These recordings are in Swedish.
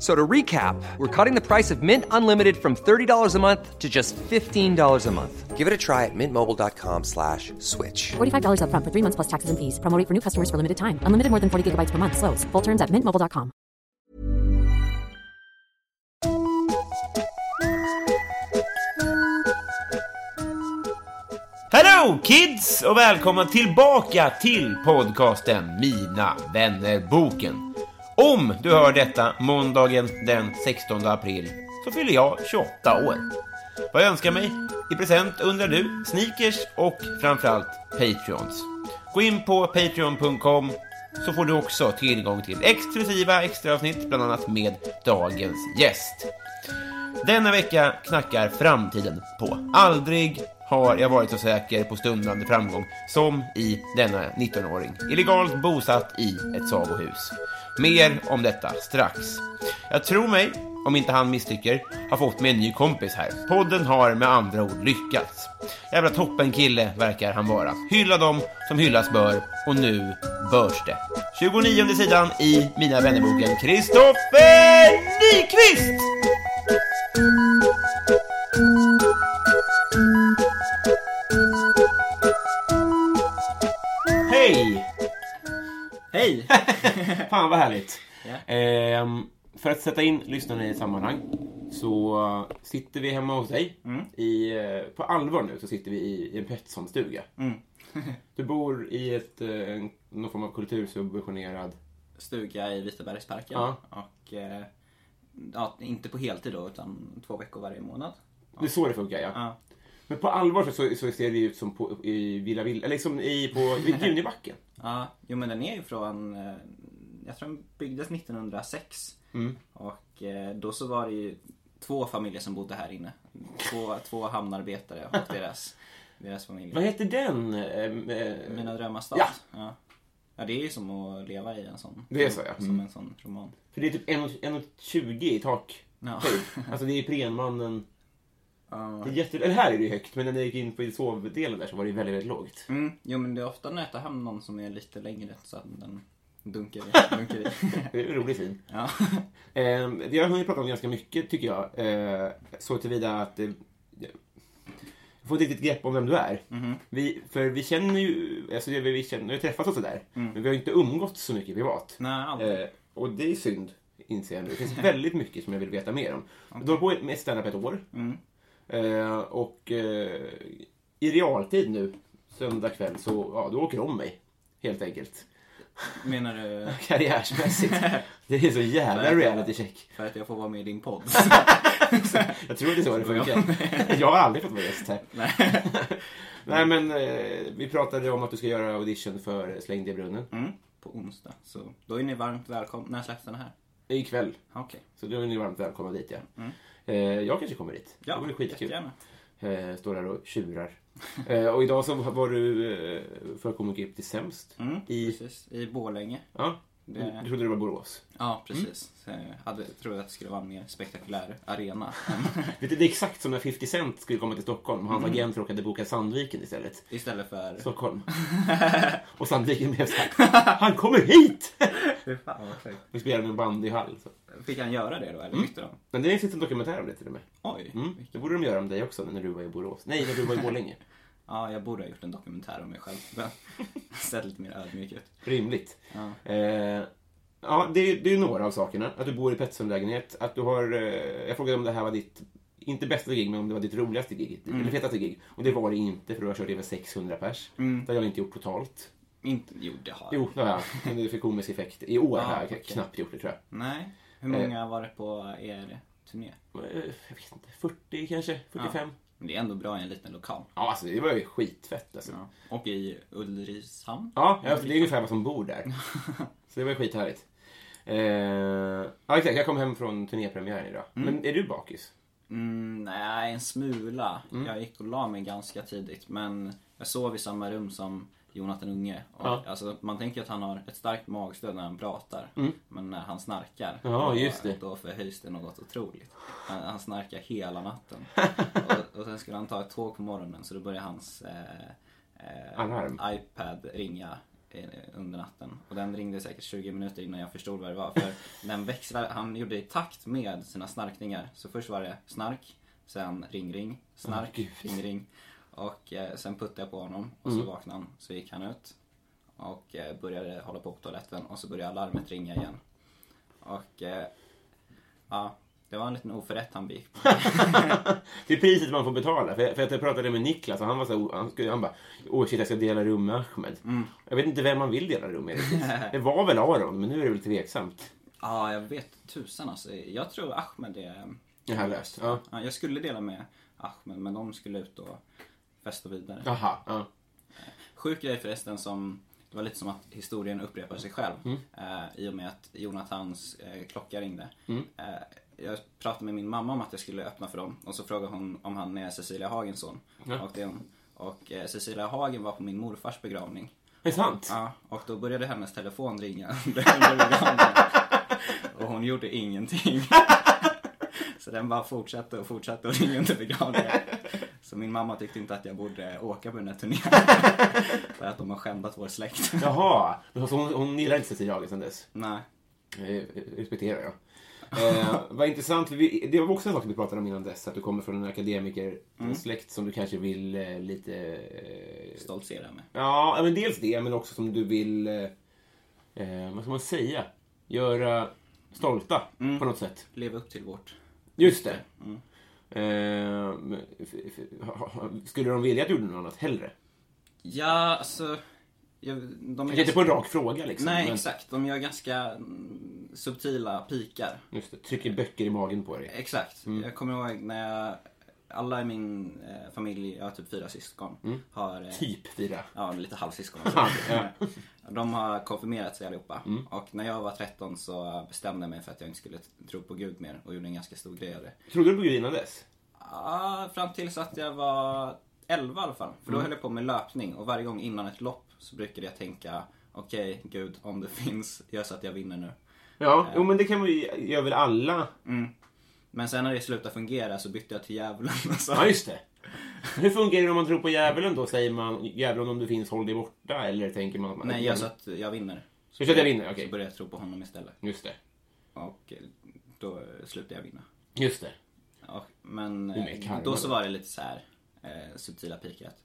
So to recap, we're cutting the price of Mint Unlimited from $30 a month to just $15 a month. Give it a try at mintmobile.com slash switch. $45 upfront for three months plus taxes and fees. Promo rate for new customers for limited time. Unlimited more than 40 gigabytes per month. Slows. Full terms at mintmobile.com. Hello kids och välkomna tillbaka till podcasten Mina vännerboken. Om du hör detta måndagen den 16 april så fyller jag 28 år. Vad jag önskar mig i present undrar du? Sneakers och framförallt Patreons. Gå in på patreon.com så får du också tillgång till exklusiva extraavsnitt bland annat med dagens gäst. Denna vecka knackar framtiden på. Aldrig har jag varit så säker på stundande framgång som i denna 19-åring. Illegalt bosatt i ett sagohus. Mer om detta strax. Jag tror mig, om inte han misstycker, har fått mig en ny kompis här. Podden har med andra ord lyckats. Jävla toppen kille verkar han vara. Hylla dem som hyllas bör och nu börs det. 29 sidan i Mina vännerboken Kristoffer Nyqvist! Hej! Hej! Fan vad härligt. Ja. Ehm, för att sätta in lyssnarna i ett sammanhang så sitter vi hemma hos dig. Mm. I, eh, på allvar nu så sitter vi i, i en Pettersson-stuga. Mm. du bor i ett, eh, en, någon form av kultursubventionerad... Stuga i Vitabergsparken. Ja. Och, eh, ja, inte på heltid då, utan två veckor varje månad. Det är så det funkar ja. Ja. Men på allvar så, så, så ser det ut som på, i Villa Villa, eller liksom i, på vid Junibacken. ja. Jo men den är ju från, eh, jag tror den byggdes 1906. Mm. Och eh, då så var det ju två familjer som bodde här inne. Två, två hamnarbetare och deras, deras Vad familj. heter den? Ehm, eh, Mina drömmar stad. Ja. ja. Ja, det är ju som att leva i en sån. Det är så, ja. Som Mm. en sån roman. för det är typ 1,20 i tak. Ja. Typ. Alltså det är Prenmannen. Ja. Det är jätte... Eller här är det ju högt, men när jag gick in på sovdelen där så var det väldigt, väldigt lågt. Mm, jo men det är ofta nätahamn någon som är lite längre så att den dunkar i. Dunkar i. Det är en rolig syn. ja. Eh, vi har hunnit prata om ganska mycket, tycker jag. Eh, så tillvida att... Eh, jag får inte riktigt grepp om vem du är. Mm-hmm. Vi, för vi känner ju... Alltså, vi, vi, känner, vi har träffats och sådär. Mm. Men vi har ju inte umgåtts så mycket privat. Nej, aldrig. Eh, och det är synd, inser jag nu. Det finns väldigt mycket som jag vill veta mer om. Du har hållit på med standup ett år. Mm. Eh, och eh, i realtid nu, söndag kväll, så ja, du åker om mig. Helt enkelt. Menar du Karriärsmässigt. det är så jävla reality check. för att jag får vara med i din podd? Jag tror det är så det funkar. jag har aldrig fått vara gäst här. Nej. Nej men, eh, vi pratade om att du ska göra audition för Släng dig i brunnen. Mm, på onsdag. Så då är ni varmt välkomna. När släpps den här? Ikväll. Ja, Okej. Så då är ni varmt välkomna dit ja. Eh, jag kanske kommer dit. Mm. Ja, det vore skitkul. jättegärna. Eh, står där och tjurar. eh, och idag så var du eh, för Comic Gip till sämst. Mm, I- precis. I Borlänge. Ja. Det- Du trodde det var Borås. Ja, precis. Så jag hade, trodde att det skulle vara en mer spektakulär arena. Vet du, det är exakt som när 50 Cent skulle komma till Stockholm och hans agent råkade boka Sandviken istället. Istället för... Stockholm. och Sandviken blev såhär, han kommer hit! Fy fan, vad sjukt. Vi spelade i en bandyhall. Så. Fick han göra det då, eller bytte de? Men det finns en dokumentär om det till och med. Oj! Mm. Det borde de göra om dig också när du var i Borås. Nej, när du var i Borlänge. Ja, jag borde ha gjort en dokumentär om mig själv. Sett lite mer ödmjuk ut. Rimligt. Ja. Eh, ja, det, är- det är ju några av sakerna. Att du bor i Pettersson-lägenhet. Att du har... Eh, jag frågade om det här var ditt, inte bästa gig, men om det var ditt Mm. Mm. roligaste gig. Eller fetaste gig. Och det var det inte, för du har kört över 600 pers. Det har jag inte gjort totalt. Inte, jo, det har jag. Jo, det har jag. Men det fick komisk effekt. I år har jag okej. knappt gjort det tror jag. Nej. Hur många har varit på er turné? Eh, Jag vet inte, 40 kanske? 45? Men det är ändå bra i en liten lokal. Ja, alltså det var ju skitfett alltså. Ja. Och i Ulricehamn. Ja, ja för det är ungefär vad som bor där. Så det var skithärligt. Eh, ja, exakt. Jag kom hem från turnépremiären idag. Men är du bakis? Mm, nej, en smula. Mm. Jag gick och la mig ganska tidigt men jag sov i samma rum som Jonathan Unge. Och, Ja. alltså, man tänker att han har ett starkt magstöd när han pratar. Men när han snarkar, Mm. Ja, då, just det. då förhöjs det något otroligt. Han, han snarkar hela natten. och, och sen skulle han ta ett tåg på morgonen så då började hans eh, eh, Alarm. iPad ringa eh, under natten. Och den ringde säkert 20 minuter innan jag förstod vad det var. För den växlar, han gjorde i takt med sina snarkningar. Så först var det snark, sen ring ring, snark, Åh, gud. Mm. ring ring. Och eh, sen puttade jag på honom och så vaknade han. Så gick han ut och eh, började hålla på på toaletten och så började alarmet ringa igen. Och eh, ja, det var en liten oförrätt han begick. Det är priset man får betala. För, för att jag pratade med Niklas och han var så här, han, skulle, han bara Åh shit, jag ska dela rum med Ahmed. Jag vet inte vem man vill dela rum med riktigt. Det var väl Aron, men nu är det väl tveksamt. Ja, jag vet tusan alltså. Jag tror Ahmed är... Det här löst. Ja. Ja, jag skulle dela med Ahmed, men de skulle ut och festa vidare. Aha, ja. Sjuk grej förresten som, det var lite som att historien upprepar sig själv. Eh, I och med att Jonathans eh, klocka ringde. Eh, jag pratade med min mamma om att jag skulle öppna för dem och så frågade hon om han är Cecilia Hagens son. Och, det är hon. och eh, Cecilia Hagen var på min morfars begravning. Det är sant. Ja, och då började hennes telefon ringa under begravningen. Och hon gjorde ingenting. Så den bara fortsatte och fortsatte och ringa under begravningen. Så min mamma tyckte inte att jag borde åka på den här turnén. För att de har skändat vår släkt. Jaha, så hon, hon gillar inte Cecilia Hagen sedan dess. Nej. Eh, respekterar jag. Eh, vad intressant, för vi, det var också en sak vi pratade om innan dess, att du kommer från en akademikersläkt som du kanske vill eh, lite... Eh, Stoltsera med. ja, men dels det, men också som du vill, eh, eh, vad ska man säga, göra stolta Mm. på något sätt. Leva upp till vårt. Just det. Mm. Eh, men f- f- ha- ha- skulle de vilja att du gjorde något annat hellre? Ja, alltså. Jag, de Kanske inte på en rak fråga liksom. Nej, men- exakt. De gör ganska mm, subtila pikar. Just det, trycker böcker i magen på dig. Exakt. Mm. Jag kommer ihåg när jag, alla i min eh, familj, jag har typ fyra syskon, har eh, Typ fyra. ja, lite halvsyskon. Ja. Mm. De har konfirmerat sig allihopa. Och när jag var 13 så bestämde jag mig för att jag inte skulle t- tro på Gud mer och gjorde en ganska stor grej av det. Trodde du på Gud innan dess? Ah, fram tills att jag var 11 i alla fall. Mm. För då höll jag på med löpning och varje gång innan ett lopp så brukade jag tänka Okej Gud, om du finns, gör så att jag vinner nu. Ja, jo, men det kan vi gör väl alla. Men sen när det slutade fungera så bytte jag till djävulen. och så- Ja, just det. Hur fungerar det om man tror på djävulen då? Säger man djävulen om du finns, håll dig borta? Eller tänker man att man... Nej, gör så att jag vinner. Så att jag vinner, okej. Så började jag tro på honom istället. Just det. Och eh, då slutade jag vinna. Just det. Och, men är mer eh, karma då då. så var det lite så här eh, subtila pikar att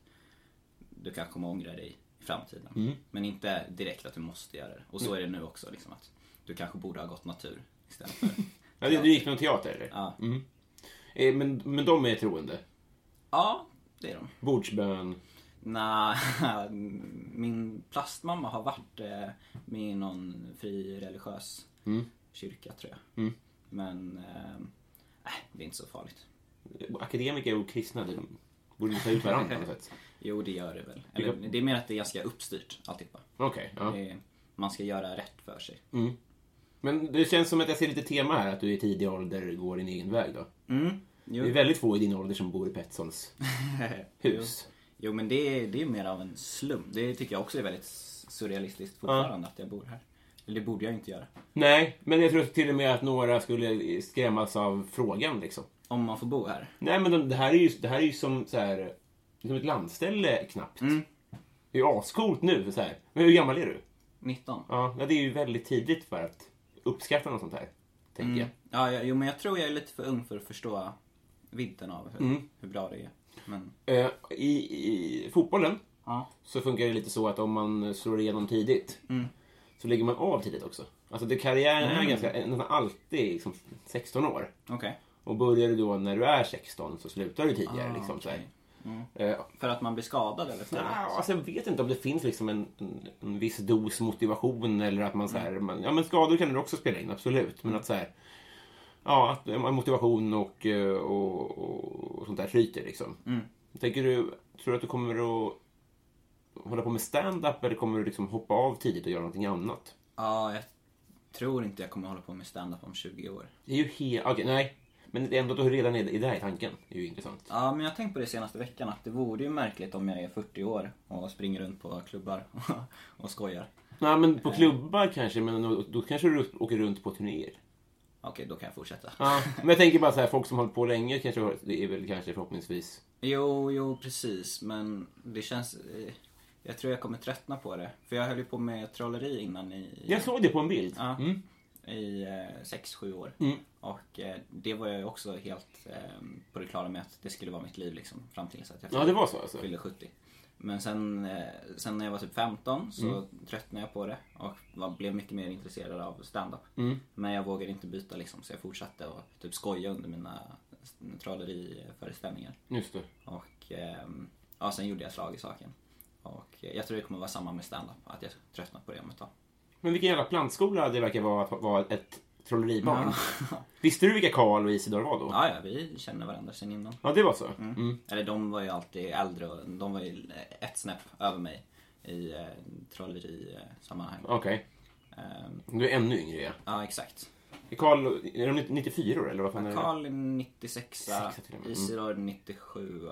du kan komma ångra dig i framtiden. Mm. Men inte direkt att du måste göra det. Och så är det nu också liksom att du kanske borde ha gått natur istället för... Ja, du, du gick någon teater eller? Ja. Mm. Eh, Men, men de är troende? ja, det är de. Bordsbön? Nja, min plastmamma har varit eh, med i någon fri religiös Mm. kyrka tror jag. Men, eh, äh, det är inte så farligt. Akademiker och kristna, de borde ta ut varandra på något sätt. Jo, det gör det väl. Eller, det är mer att det är ganska uppstyrt, alltihopa. Okej, ja. Det är- Man ska göra rätt för sig. Men det känns som att jag ser lite tema här, att du i tidig ålder går din egen väg då. Mm, Jo. Det är väldigt få i din ålder som bor i Petsols hus. Jo, men det är, det är mer av en slum. Det tycker jag också är väldigt surrealistiskt fortfarande, att jag bor här. Eller det borde jag inte göra. Nej, men jag tror till och med att några skulle skrämmas av frågan liksom. Om man får bo här. Nej men de, det, här är ju, det här är ju som så här, som ett landställe knappt. Mm. Det är ju ascoolt nu. Så här. Men hur gammal är du? 19. Ja, ja, det är ju väldigt tidigt för att uppskatta något sånt här. Tänker jag. Ja, jag- jo, men jag tror jag är lite för ung för att förstå vidden av hur, hur bra det är. Men, Eh, I, I fotbollen ja. så funkar det lite så att om man slår igenom tidigt så lägger man av tidigt också. Alltså det, karriären är ganska, eh, nästan alltid liksom 16 år. Okej. Och börjar du då när du är 16 så slutar du tidigare. liksom, så här. okej. Eh, För att man blir skadad eller för Ja, att... alltså jag vet inte om det finns liksom en, en, en viss dos motivation eller att man så här, man, ja men skador kan det också spela in, absolut. Men att så här, ja, att eh, motivation och, eh, och, och, och sånt där flyter liksom. Tänker du, tror du att du kommer att hålla på med stand-up eller kommer du liksom hoppa av tidigt och göra någonting annat? Ja, jag tror inte jag kommer hålla på med stand-up om 20 år. Det är ju helt, okej, nej. Men det är ändå att du redan är, är där i tanken, det är ju intressant. Ja, men jag har tänkt på det senaste veckan att det vore ju märkligt om jag är 40 år och springer runt på klubbar och skojar. Nej men på klubbar kanske, men då, då kanske du åker runt på turnéer. Okej, då kan jag fortsätta. Ja, men jag tänker bara så här, folk som håller på länge kanske har- det är väl kanske förhoppningsvis. Jo, jo precis, men det känns... eh, Jag tror jag kommer tröttna på det. För jag höll ju på med trolleri innan i... Jag såg det på en bild. Ja. Mm. i eh, sex sju år. Och eh, det var jag ju också helt eh, på det klara med att det skulle vara mitt liv liksom, fram tills att jag Ja, det var så alltså. fyllde 70. Men sen, eh, sen när jag var typ 15 så tröttnade jag på det och var, blev mycket mer intresserad av stand-up. Men jag vågade inte byta liksom så jag fortsatte att typ skoja under mina s- trolleriföreställningar. Just det. Och ehm, ja, sen gjorde jag slag i saken. Och eh, jag tror det kommer vara samma med stand-up, att jag tröttnar på det om ett tag. Men vilken jävla plantskola det verkar vara att vara ett trolleribarn. Ja. Visste du vilka Karl och Isidor var då? Ja, ja, vi känner varandra sen innan. Ja, det var så. Mm. Eller de var ju alltid äldre och de var ju ett snäpp över mig i eh, trollerisammanhang. Okej. Ehm, Du är ännu yngre, ja. ja, exakt. Är Karl, är de 94 år eller vad fan är det? Karl är 96, Sexa till och med. Mm. Isidor 97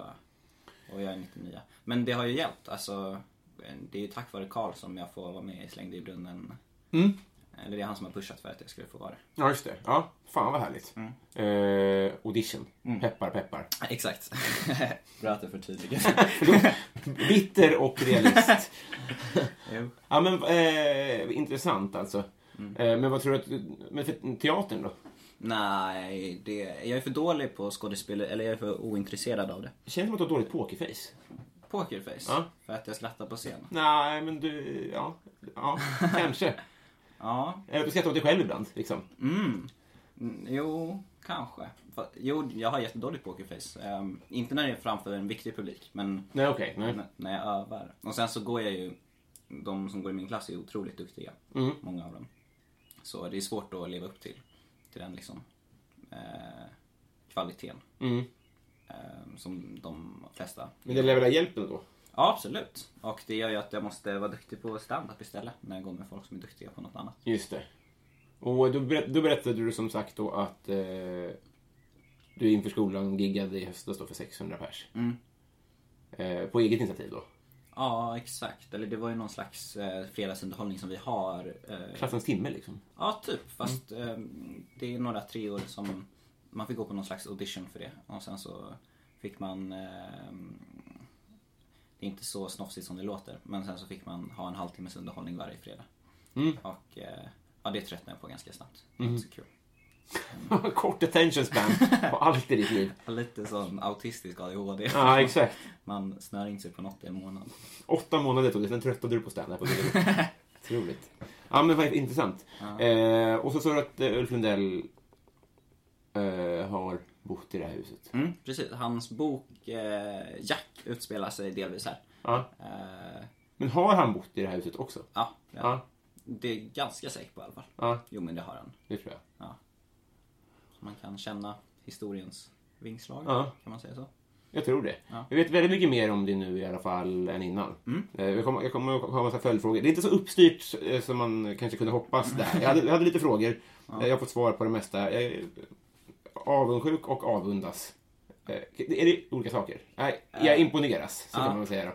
och jag är 99. Men det har ju hjälpt. Alltså, det är ju tack vare Karl som jag får vara med i Slängd i brunnen. Mm. Eller det är han som har pushat för att jag skulle få vara det. Ja, just det. Ja, fan vad härligt. Mm. Eh, audition. Peppar, peppar. Exakt. Bra att du förtydligar. Bitter och realist. Jo. Mm. Ja, men eh, intressant alltså. Eh, men vad tror du att... Men för teatern då? Nej, det, jag är för dålig på skådespel, eller jag är för ointresserad av det. Känns som att du har dåligt pokerface. Pokerface? Ja. För att jag skrattar på scen? Nej, men du... Ja, ja kanske. Ja. Eller att du skrattar åt dig själv ibland. Liksom. Mm, Jo, kanske. Fa- Jo, jag har jättedåligt pokerface. Ehm, inte när det är framför en viktig publik, men Nej, okej. nej. n- när jag övar. Och sen så går jag ju... De som går i min klass är otroligt duktiga. Många av dem. Så det är svårt att leva upp till, till den liksom eh, kvaliteten. Mm. ehm, som de flesta Men det lär väl ha hjälpt då? Ja, absolut. Och det gör ju att jag måste vara duktig på stand-up istället när jag går med folk som är duktiga på något annat. Just det. Och då, berätt, då berättade du som sagt då att eh, du inför skolan giggade i höstas då för 600 pers. Mm. Eh, på eget initiativ då? Ja, exakt. Eller det var ju någon slags eh, fredagsunderhållning som vi har. Eh, Klassens timme liksom? ja, typ. Fast eh, det är några treor som man fick gå på någon slags audition för det. Och sen så fick man... Eh, det är inte så snofsigt som det låter. Men sen så fick man ha en halvtimmes underhållning varje fredag. Mm. Och eh, ja, det tröttnade jag på ganska snabbt. Det var inte så kul. Kort attention span på allt i ditt liv. Lite sån autistisk ADHD. Ja, exakt. Man snör in sig på något i en månad. Åtta månader tog det, sen tröttnade du på stand-up. och det var- Otroligt. Ja, men vad intressant. Eh, och så sa du att eh, Ulf Lundell eh, har bott i det här huset. Mm, precis. Hans bok eh, Jack utspelar sig delvis här. Ja. Eh, Men har han bott i det här huset också? ja, ja. Ja, Det är ganska säkert på i alla fall. ja Jo, men det har han. det tror jag. Så man kan känna historiens vingslag, Ja. kan man säga så. Jag tror det. Ja. Jag vet väldigt mycket mer om det nu i alla fall än innan. Eh, Jag kommer, jag kommer att ha en massa följdfrågor. Det är inte så uppstyrt eh, som man kanske kunde hoppas där. Jag hade, jag hade lite frågor. Eh, Jag har fått svar på det mesta. Jag är avundsjuk och avundas. Eh, Är det olika saker? Nej, jag imponeras, så kan man väl säga då.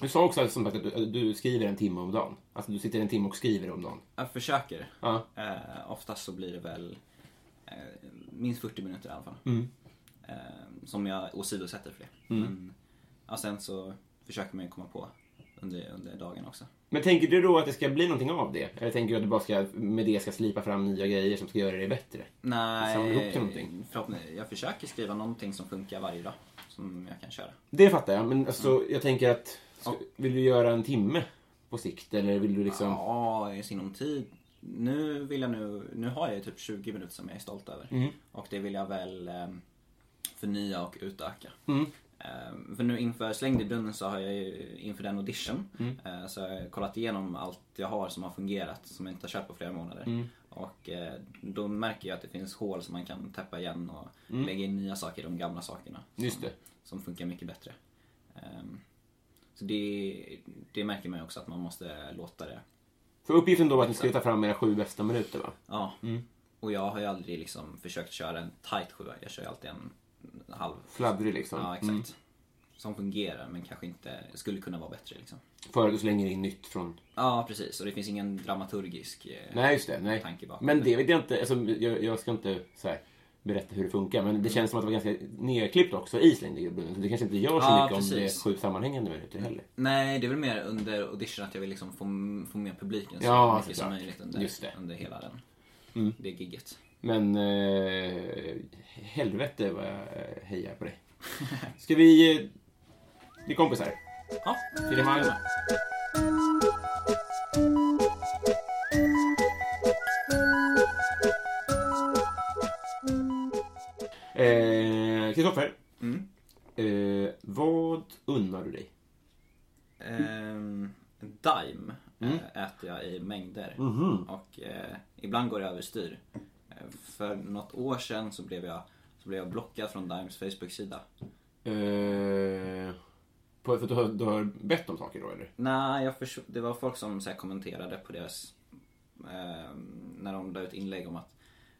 Du sa också som sagt att du, att du skriver en timme om dagen. Alltså du sitter en timme och skriver om dagen. Jag försöker. Ja. Eh, oftast så blir det väl eh, minst 40 minuter i alla fall. Mm. Eh, som jag åsidosätter för det. Men, ja, sen så försöker man ju komma på under, under dagen också. Men tänker du då att det ska bli någonting av det? Eller tänker du att du bara ska, med det ska slipa fram nya grejer som ska göra dig bättre? Samla ihop till någonting. Nej, förhoppningsvis. Jag försöker skriva någonting som funkar varje dag. Som jag kan köra. Det fattar jag, Mm. men alltså, jag tänker att ska, vill du göra en timme på sikt eller vill du liksom... Ja, i sinom tid. Nu vill jag nu, nu har jag ju typ 20 minuter som jag är stolt över. Och det vill jag väl eh, förnya och ehm, utöka. Eh, För nu inför Slängd i brunnen så har jag ju inför den audition eh, så har jag kollat igenom allt jag har som har fungerat som jag inte har kört på flera månader. Och eh, då märker jag att det finns hål som man kan täppa igen och lägga in nya saker i de gamla sakerna. Just det. Som funkar mycket bättre. Ehm, Så det, det märker man ju också att man måste låta det För uppgiften då var att ni skulle ta fram era sju bästa minuter va? Ja. Mm. Och jag har ju aldrig liksom försökt köra en tight sjua. Jag kör ju alltid en halv. Fladdrig liksom. Ja, exakt. Mm. Som fungerar men kanske inte skulle kunna vara bättre liksom. För att du slänger in nytt från... Ja, precis. Och det finns ingen dramaturgisk... eh, Nej, just det. Nej. Tanke bakom. Men det vet jag inte. Alltså, jag, jag ska inte så här, berätta hur det funkar. Men Mm. det känns som att det var ganska nedklippt också i slängdegrunden. Så det kanske inte gör så Ja, mycket om det är precis. sju sammanhängande minuter heller. Nej, det är väl mer under audition att jag vill liksom få, få med publiken så Ja, mycket som såklart. möjligt under, Just det. Mm. under hela den, det gigget. Men eh, helvete vad jag eh, hejar på dig. Ska vi... Eh, vi är kompisar. Ja, Finemang. Eh, Kristoffer. Mm. Eh, vad unnar du dig? Ehm, Dime eh, äter jag i mängder. Och eh, ibland går det överstyr. Eh, För något år sedan så blev jag, så blev jag blockad från Dimes Facebook-sida. Eh, på, för att du har, du har bett om saker då eller? Nej, jag förs- det var folk som så här, kommenterade på deras... Eh, när de la ut inlägg om att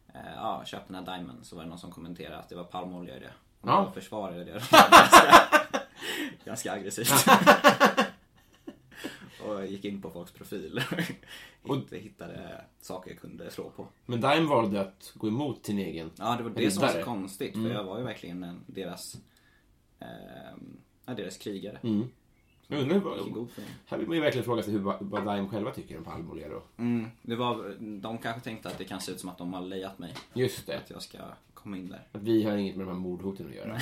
eh, ja, köp den här Dimen. Så var det någon som kommenterade att det var palmolja i det. Och Ja. då försvarade jag det. ganska, ganska aggressivt. och gick in på folks profil. och inte hittade saker jag kunde slå på. Men Dime valde att gå emot sin egen. Ja, det var det Mm. som var så riddare. konstigt. För jag var ju verkligen en, deras... ehm, ja, deras krigare. Jag undrar, Gick vad- god för dem. här vill man ju verkligen fråga sig hur, vad vad Dime själva tycker om Palmolja då. Mm, det var, de kanske tänkte att det kan se ut som att de har lejat mig. Just det. Att jag ska komma in där. Att vi har inget med de här mordhoten att göra.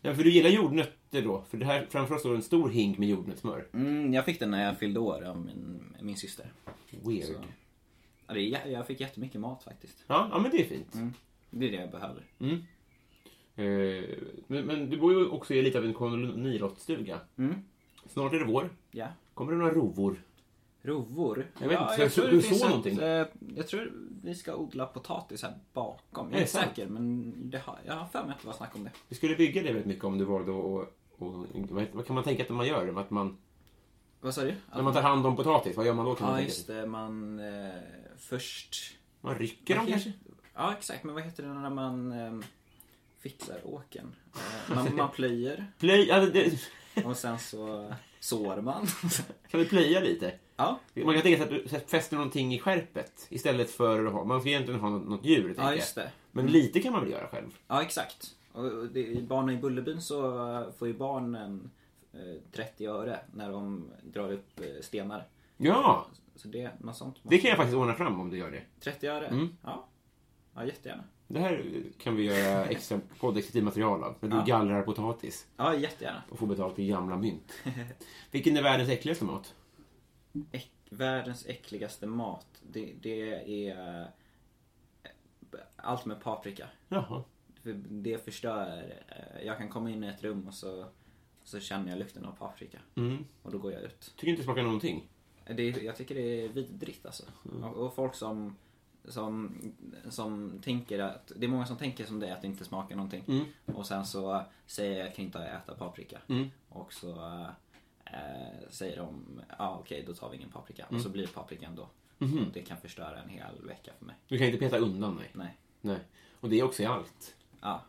Nej, för du gillar jordnötter då? För det här framför oss står en stor hink med jordnötssmör. Mm, jag fick den när jag fyllde år av min, min syster. Weird. Så. Ja, det, är jä- jag fick jättemycket mat faktiskt. Ja, ja, men det är fint. Mm. Det är det jag behöver. Eh, men, men du bor ju också i lite av en kolonilottstuga. Mm. Snart är det vår. Ja. Kommer det några rovor? Rovor. Jag vet ja, inte, så- tror det du finns såg ett, någonting? eh, jag tror vi ska odla potatis här bakom. Är Jag det är sant? säker, men det har, jag har för mig att det var snack om det. Vi skulle bygga det väldigt mycket om du valde att... Och, och, vad, heter- vad kan man tänka att man gör? Att man, Vad sa du? när man tar hand om potatis, vad gör man då? Kan man, Ja, tänka just sig? det. Man eh, först... man rycker dem Vad kanske? heter- Ja, exakt. Men vad heter det när man ehm, fixar åken? Eh, man, man plöjer Plöj, ja, det- det, och sen så sår man. kan vi plöja lite? ja, Man kan tänka sig att du fäster någonting i skärpet istället för att ha... Man ska egentligen ha något, något djur, tänker ja, jag. just det. Mm. Men lite kan man väl göra själv? Ja, exakt. Och och det, i barnen i Bullerbyn så eh, får ju barnen eh, 30 öre när de drar upp eh, stenar. Ja! Så det, Mm. något sånt. Det kan jag faktiskt ordna fram om du gör det. 30 öre? Ja. ja, jättegärna. Det här kan vi göra extra poddexklusivt material av. När du gallrar potatis Ja, jättegärna. och får betalt i gamla mynt. Vilken är världens äckligaste mat? Äck, världens äckligaste mat, det, det är eh, allt med paprika. Jaha. För det förstör. eh, Jag kan komma in i ett rum och så, så känner jag lukten av paprika. Och då går jag ut. Tycker inte det smakar någonting. Det, är- jag tycker det är vidrigt alltså. Och, och folk som, som, som tänker att, det är många som tänker som det att det inte smakar någonting. Och sen så säger jag att jag kan inte äta paprika. Och så eh, säger de, ja ah, okej då tar vi ingen paprika. Och så blir det paprika ändå. Och det kan förstöra en hel vecka för mig. Du kan inte peta undan, nej. Nej. Nej. Och det är också i allt. Ja,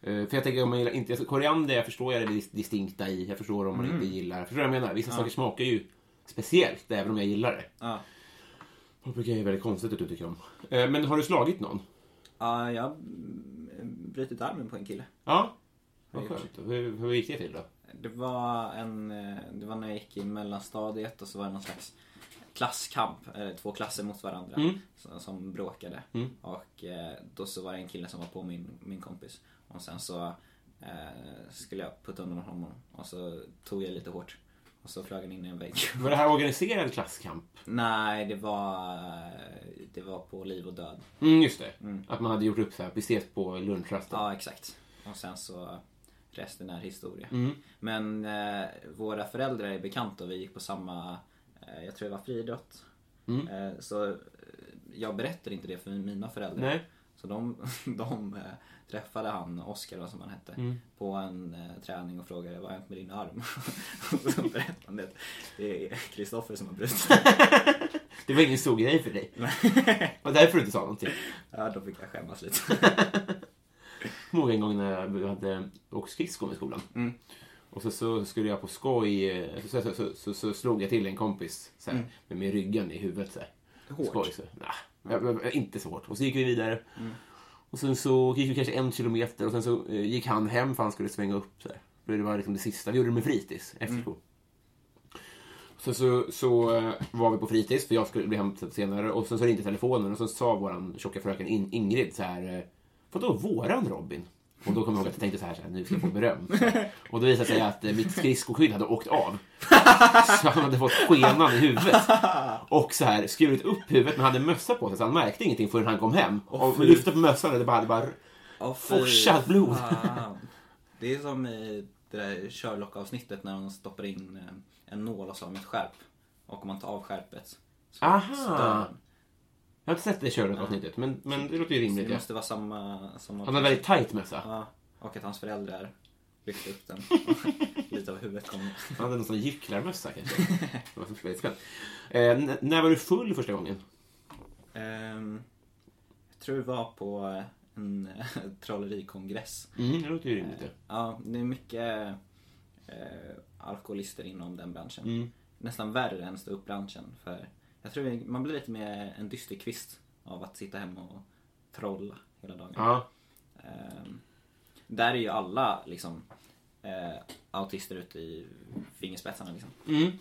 Eh, För jag tänker om man gillar inte... Alltså, koriander, jag förstår jag det dis- distinkta i. Jag förstår om man inte gillar... Förstår du vad jag menar? Vissa saker smakar ju speciellt, även om jag gillar det. ja. Paprika är väldigt konstigt att du tycker om. Eh, Men har du slagit någon? ja jag har brutit armen på en kille. Ja. Vad skönt. Hur, hur gick det till då? Det var, en, eh, det var när jag gick i mellanstadiet och så var det någon slags klasskamp, eh, två klasser mot varandra som, som bråkade. Och eh, då så var det en kille som var på min, min kompis. Och sen så eh, skulle jag putta undan honom och så tog jag lite hårt. Och så flög han in i en vägg. Var det här organiserad klasskamp? Nej, det var, eh, det var på liv och död. Mm, just det. Att man hade gjort upp så här, vi ses på lunchrasten. Ja, exakt. Och sen så Resten är historia. Men eh, våra föräldrar är bekanta och vi gick på samma, eh, jag tror det var friidrott. Eh, så eh, jag berättar inte det för mina föräldrar. Nej. Så de, de eh, träffade han, Oskar vad som han hette, på en eh, träning och frågade vad har hänt med din arm? och så berättade han det. Det är Kristoffer som har brutit den." Det var ingen stor grej för dig. Och därför du inte sa någonting. Ja, då fick jag skämmas lite. Jag kommer ihåg en gång när jag hade åkt skridskor med skolan. Och så, så skulle jag på skoj, eh, så, så, så, så, så slog jag till en kompis så här, med, med ryggen i huvudet. Så här. Hårt. Skoj, så. Nah, jag, jag, jag- inte så hårt. Och så gick vi vidare. Och sen så gick vi kanske en kilometer och sen så eh, gick han hem för han skulle svänga upp. Så här. Det var liksom det sista. Vi gjorde det med fritids efter skolan. Sen så, så eh, var vi på fritids, för jag skulle bli hämtad senare. Och sen så ringde telefonen och så sa våran tjocka fröken In- Ingrid så här... eh, Vadå våran Robin? Och då kom jag ihåg att jag tänkte så här, så här nu ska jag få beröm. Så här. Och då visade det sig att eh, mitt skridskoskydd hade åkt av. Så han hade fått skenan i huvudet. Och så här skurit upp huvudet men hade mössa på sig så han märkte ingenting förrän han kom hem. Och fy. lyfte på mössan och det bara, det bara Oh, forsat blod. Det är som i det där Sherlock-avsnittet när hon stoppar in eh, en nål och så har hon ett skärp. Och om man tar av skärpet så så dör Aha! den. Jag har inte sett det Sherlock-avsnitt men, men det låter ju Så rimligt. det Ja. måste vara samma... samma Han hade väldigt tajt mössa. Ja, och att hans föräldrar lyfte upp den. Lite av huvudet kom. Han hade någon sån gycklarmössa kanske. Det var så väldigt spänt. Eh, n- när var du full första gången? Ehm, jag tror det var på en eh, trollerikongress. Mm, det låter ju rimligt. ja. Ja, det är mycket eh, alkoholister inom den branschen. Mm. Nästan värre än ståuppbranschen. För jag tror man blir lite mer en dysterkvist av att sitta hemma och trolla hela dagen. Ja. Ehm, där är ju alla liksom eh, autister ute i fingerspetsarna liksom. Mm.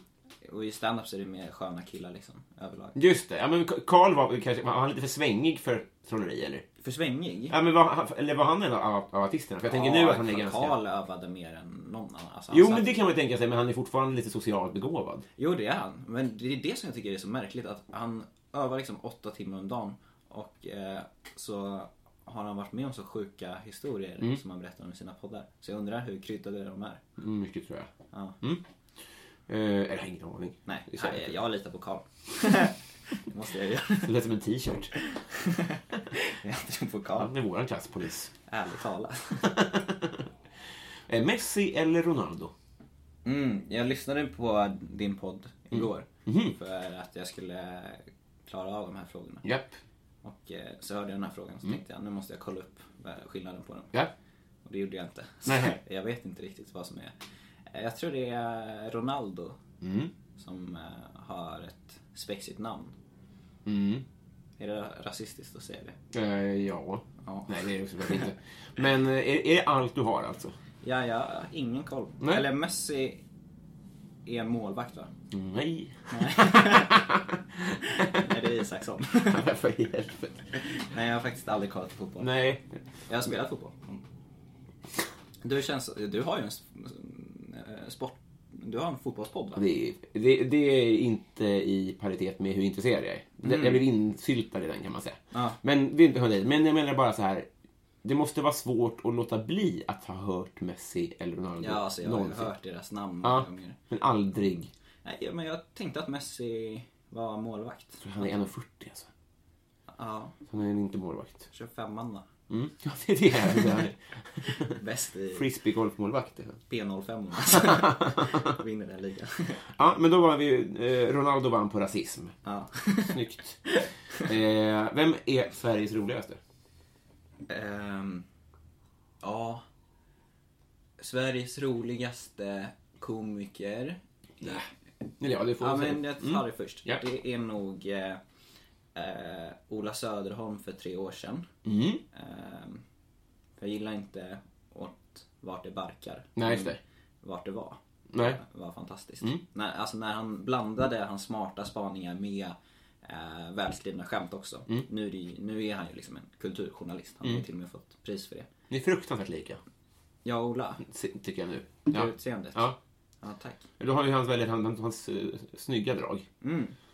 Och i stand-up så är det mer sköna killar liksom överlag. Just det. Ja, men Karl var väl kanske var han lite för svängig för trolleri, eller? För svängig? Ja, men var, han- eller var han en av, av artisterna? För jag tänker nu att han är ganska... Karl övade mer än någon annan. Alltså, han Jo, satt- men det kan man ju tänka sig, men han är fortfarande lite socialt begåvad. Jo, det är han. Men det är det som jag tycker är så märkligt. Att han övar liksom åtta timmar om dagen. Och eh, så har han varit med om så sjuka historier som han berättar om i sina poddar. Så jag undrar hur kryddade de är. Mm, mycket, tror jag. Mm. Ja. Eh, eller jag har ingen aning. Nej, Det är nej, säkert. jag litar på Karl. det måste jag göra. Det lät som en t-shirt. Jag tror på Karl. Han är våran klass, polis. Ärligt talat. Eh, Messi eller Ronaldo? Mm, jag lyssnade på din podd igår. För att jag skulle klara av de här frågorna. Japp. Och eh, så hörde jag den här frågan så tänkte jag nu måste jag kolla upp vad- skillnaden på dem. Ja. Och det gjorde jag inte. Så Nej. jag vet inte riktigt vad som är. Eh, Jag tror det är Ronaldo som eh, har ett spexigt namn. Mm. Är det rasistiskt att säga det? Eh, ja. Ja. Nej, det är det såklart inte. Men eh, är, är det allt du har alltså? Ja, jag har ingen koll. Nej. Eller Messi är en målvakt va? Nej. Nej, det är Isaksson. För helvete. Nej, jag har faktiskt aldrig kollat på fotboll. Nej. Jag har spelat fotboll. Mm. Du, känns, du har ju en s- eh, sport... Du har en fotbollspodd va? Det, är- det, det är inte i paritet med hur intresserad jag är. Det- Jag blev insyltad i den kan man säga. Mm. Ja. Men, det är inte hör dig. men jag menar bara så här. Det måste vara svårt att låta bli att ha hört Messi eller Ronaldo Ja, alltså jag har ju någonsin. hört deras namn många Ja, gånger. men aldrig. Nej, men jag tänkte att Messi var målvakt. För han är 1,40 alltså. Ja, Han är inte målvakt. 25an va? Mm. Ja, det är det han är. Bäst i Frisbeegolfmålvakt. är han. P05 alltså. Vinner den ligan. Ja, men då var vi eh, Ronaldo vann på rasism. Ja. Snyggt. Eh, vem är Sveriges roligaste? Ehm, ja. Sveriges roligaste komiker. Eller ja, det får Ja vi se. men eh, jag tar det först. Mm. Ja. Det är nog eh, eh, Ola Söderholm för tre år sedan. Mm. Ehm, för jag gillar inte åt vart det barkar. Nej, just det. Vart det var. Nej. var fantastiskt. När, alltså när han blandade hans smarta spaningar med eh, välskrivna skämt också. Nu, är det, ju- nu är han ju liksom en kulturjournalist. Han har ju till och med fått pris för det. Ni är fruktansvärt lika, Ja, Ola. se- tycker jag nu. Ja. Ja. Utseendet. ja. Ja, tack. Du har ju hans väldigt hans, hans eh, snygga drag.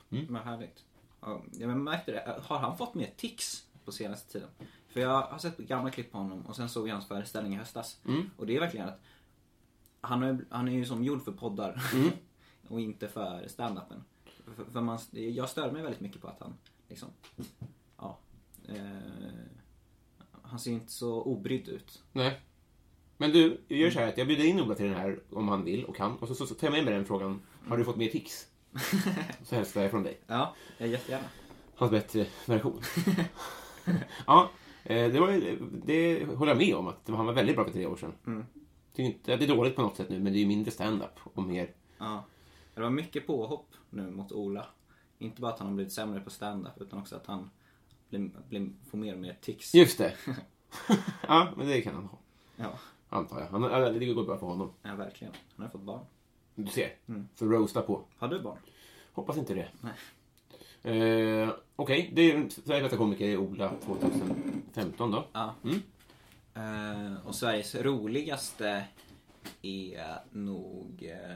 Vad härligt. Ja, jag märkte det. Har han fått mer tics på senaste tiden? För jag har sett gamla klipp på honom och sen såg jag hans föreställning i höstas. Och det är verkligen att han är, han är ju som gjord för poddar och inte för standupen. För, för man, jag stör mig väldigt mycket på att han liksom, ja. Eh, han ser inte så obrydd ut. Nej. Men du, jag gör så här att jag bjuder in Ola till den här om han vill och kan. Och så, så, så tar jag med mig den frågan. Har du fått mer tics? Så hälsar jag från dig. Ja, jag Eh, jättegärna. Hans bättre version. ja, eh, det, var, ju- det håller jag med om. att det var- Han var väldigt bra för tre år sedan. Tycker inte att det är dåligt på något sätt nu, men det är ju mindre stand-up och mer... Ja. Det var mycket påhopp nu mot Ola. Inte bara att han har blivit sämre på stand-up utan också att han blir, blir, får mer och mer tics. Just det! ja, men det kan han ha. Ja, Antar jag. Han, ja, det går bra för honom. ja, verkligen. Han har fått barn. Du ser. Så roasta på. Har du barn? Hoppas inte det. Eh, Okej, det är Sveriges bästa komiker är Ola 2015 då. Ja. Eh, och Sveriges roligaste är nog... eh,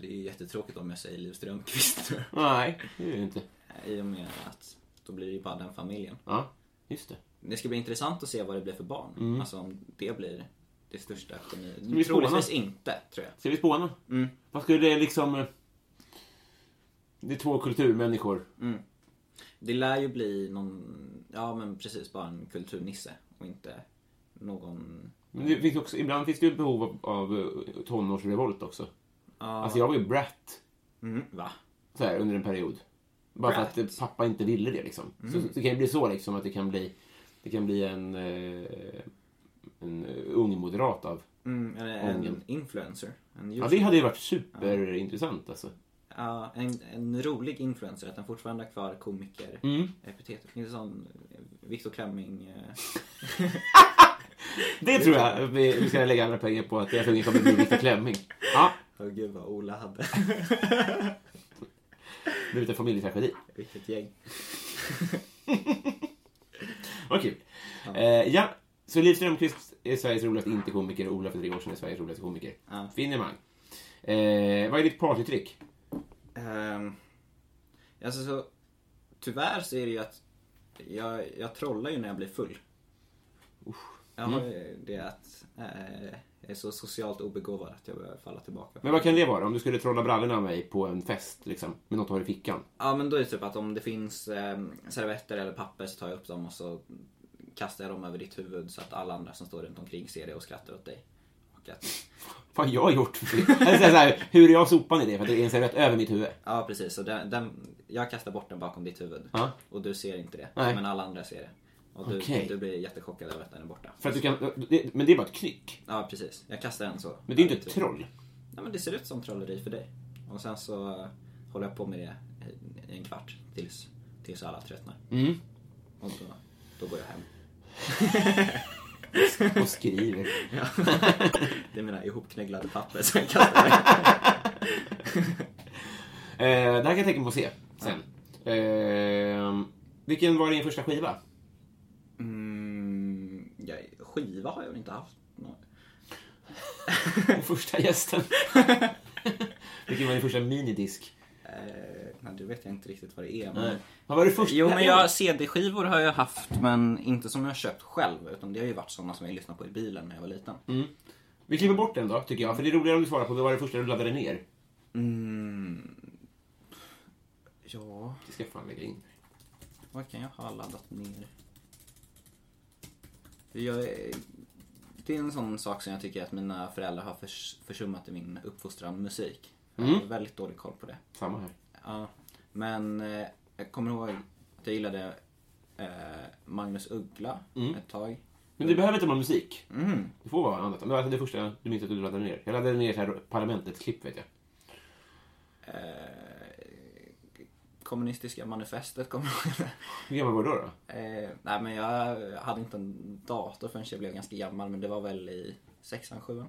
Det är ju jättetråkigt om jag säger Liv Strömquist. tror jag. Nej, det är det inte. I och med att då blir det ju bara den familjen. Ja, just det. Det ska bli intressant att se vad det blir för barn. Alltså om det blir det största vi geniet. spåna? Troligtvis inte, tror jag. Ska vi spåna? Mm. Vad skulle det liksom... eh, Det är två kulturmänniskor. Det lär ju bli någon, ja men precis, bara en kulturnisse och inte någon... Men det finns också, ibland finns det ju behov av, av eh, tonårsrevolt också. Alltså jag var ju brat Mm, va? så här, under en period. Bara för att Brat? eh, pappa inte ville det liksom. Så, så det kan ju bli så liksom att det kan bli, det kan bli en, eh, en eh, ung moderat av Mm, eller en Ången. influencer. En, Ja, youtuber. det hade ju varit superintressant alltså. Ja, en, en rolig influencer, att den fortfarande har kvar komiker epitetet. Inte sån eh, Viktor Klemming... eh, Det tror jag att vi, vi ska lägga andra pengar på att jag tror att det kommer bli Viktor Klemming. Ja, Åh oh, gud vad Ola hade. det blir en familjetragedi. Vilket gäng. Vad kul. Eh, ja, så Liv Strömquist är Sveriges roligaste inte-komiker och Ola för tre år sedan är Sveriges roligaste komiker. Ja. Finemang. Eh, vad är ditt partytrick? Ehm, alltså så, tyvärr så är det ju att jag, jag trollar ju när jag blir full. Jag har Mm. ju det att eh, jag är så socialt obegåvad att jag börjar falla tillbaka. Men vad kan det vara? Om du skulle trolla brallorna av mig på en fest liksom, med något du har i fickan. Ja men då är det typ att om det finns eh, servetter eller papper så tar jag upp dem och så kastar jag dem över ditt huvud så att alla andra som står runt omkring ser det och skrattar åt dig. Och att, Vad har jag gjort? för- Eller så här, så här, hur är jag sopan i det? För att det är en servett över mitt huvud. ja precis, så den, den, jag kastar bort den bakom ditt huvud. Ja. Och du ser inte det, Nej. men alla andra ser det. Och du, Okej. du blir jättechockad över att den är borta. För att du kan, det, men det är bara ett knyck. Ja precis, jag kastar en så. Men det är inte ett troll. Nej men det ser ut som trolleri för dig. Och sen så eh, håller jag på med det i- i en kvart tills, tills alla tröttnar. Mm. Och då, då går jag hem. Och skriver. Det är mina ihopknögglade papper som jag kastar Mm. iväg. Eh, det här kan jag tänka mig att se sen. Eh, vilken var din första skiva? Mm, ja, skiva har jag väl inte haft någon. Och första gästen? vilken var din första minidisk? Eh, nej, det vet jag inte riktigt vad det är. Nej. Men... Vad var det första? Jo men jag, CD-skivor har jag haft men inte som jag har köpt själv utan det har ju varit sådana som jag lyssnade på i bilen när jag var liten. Mm. Vi klipper bort den då, tycker jag. För det är roligare om du svarar på vad var det första du laddade ner? Ja, Det ska jag fan lägga in. Vad kan jag ha laddat ner? Jag, är- det är en sån sak som jag tycker att mina föräldrar har förs, försummat i min uppfostran musik. Jag har väldigt dålig koll på det. Samma här. Ja, men eh, jag kommer ihåg att jag gillade eh, Magnus Uggla ett tag. Men det behöver inte vara musik. Mm. Det får vara annat. Men alltså det första du minns att du laddade ner. Jag laddade ner det här Parlamentet-klipp, vet jag. Eh, Kommunistiska manifestet kommer jag ihåg. Hur gammal var du då? då? Eh, nej men jag hade inte en dator förrän jag blev ganska gammal men det var väl i sexan, sjuan.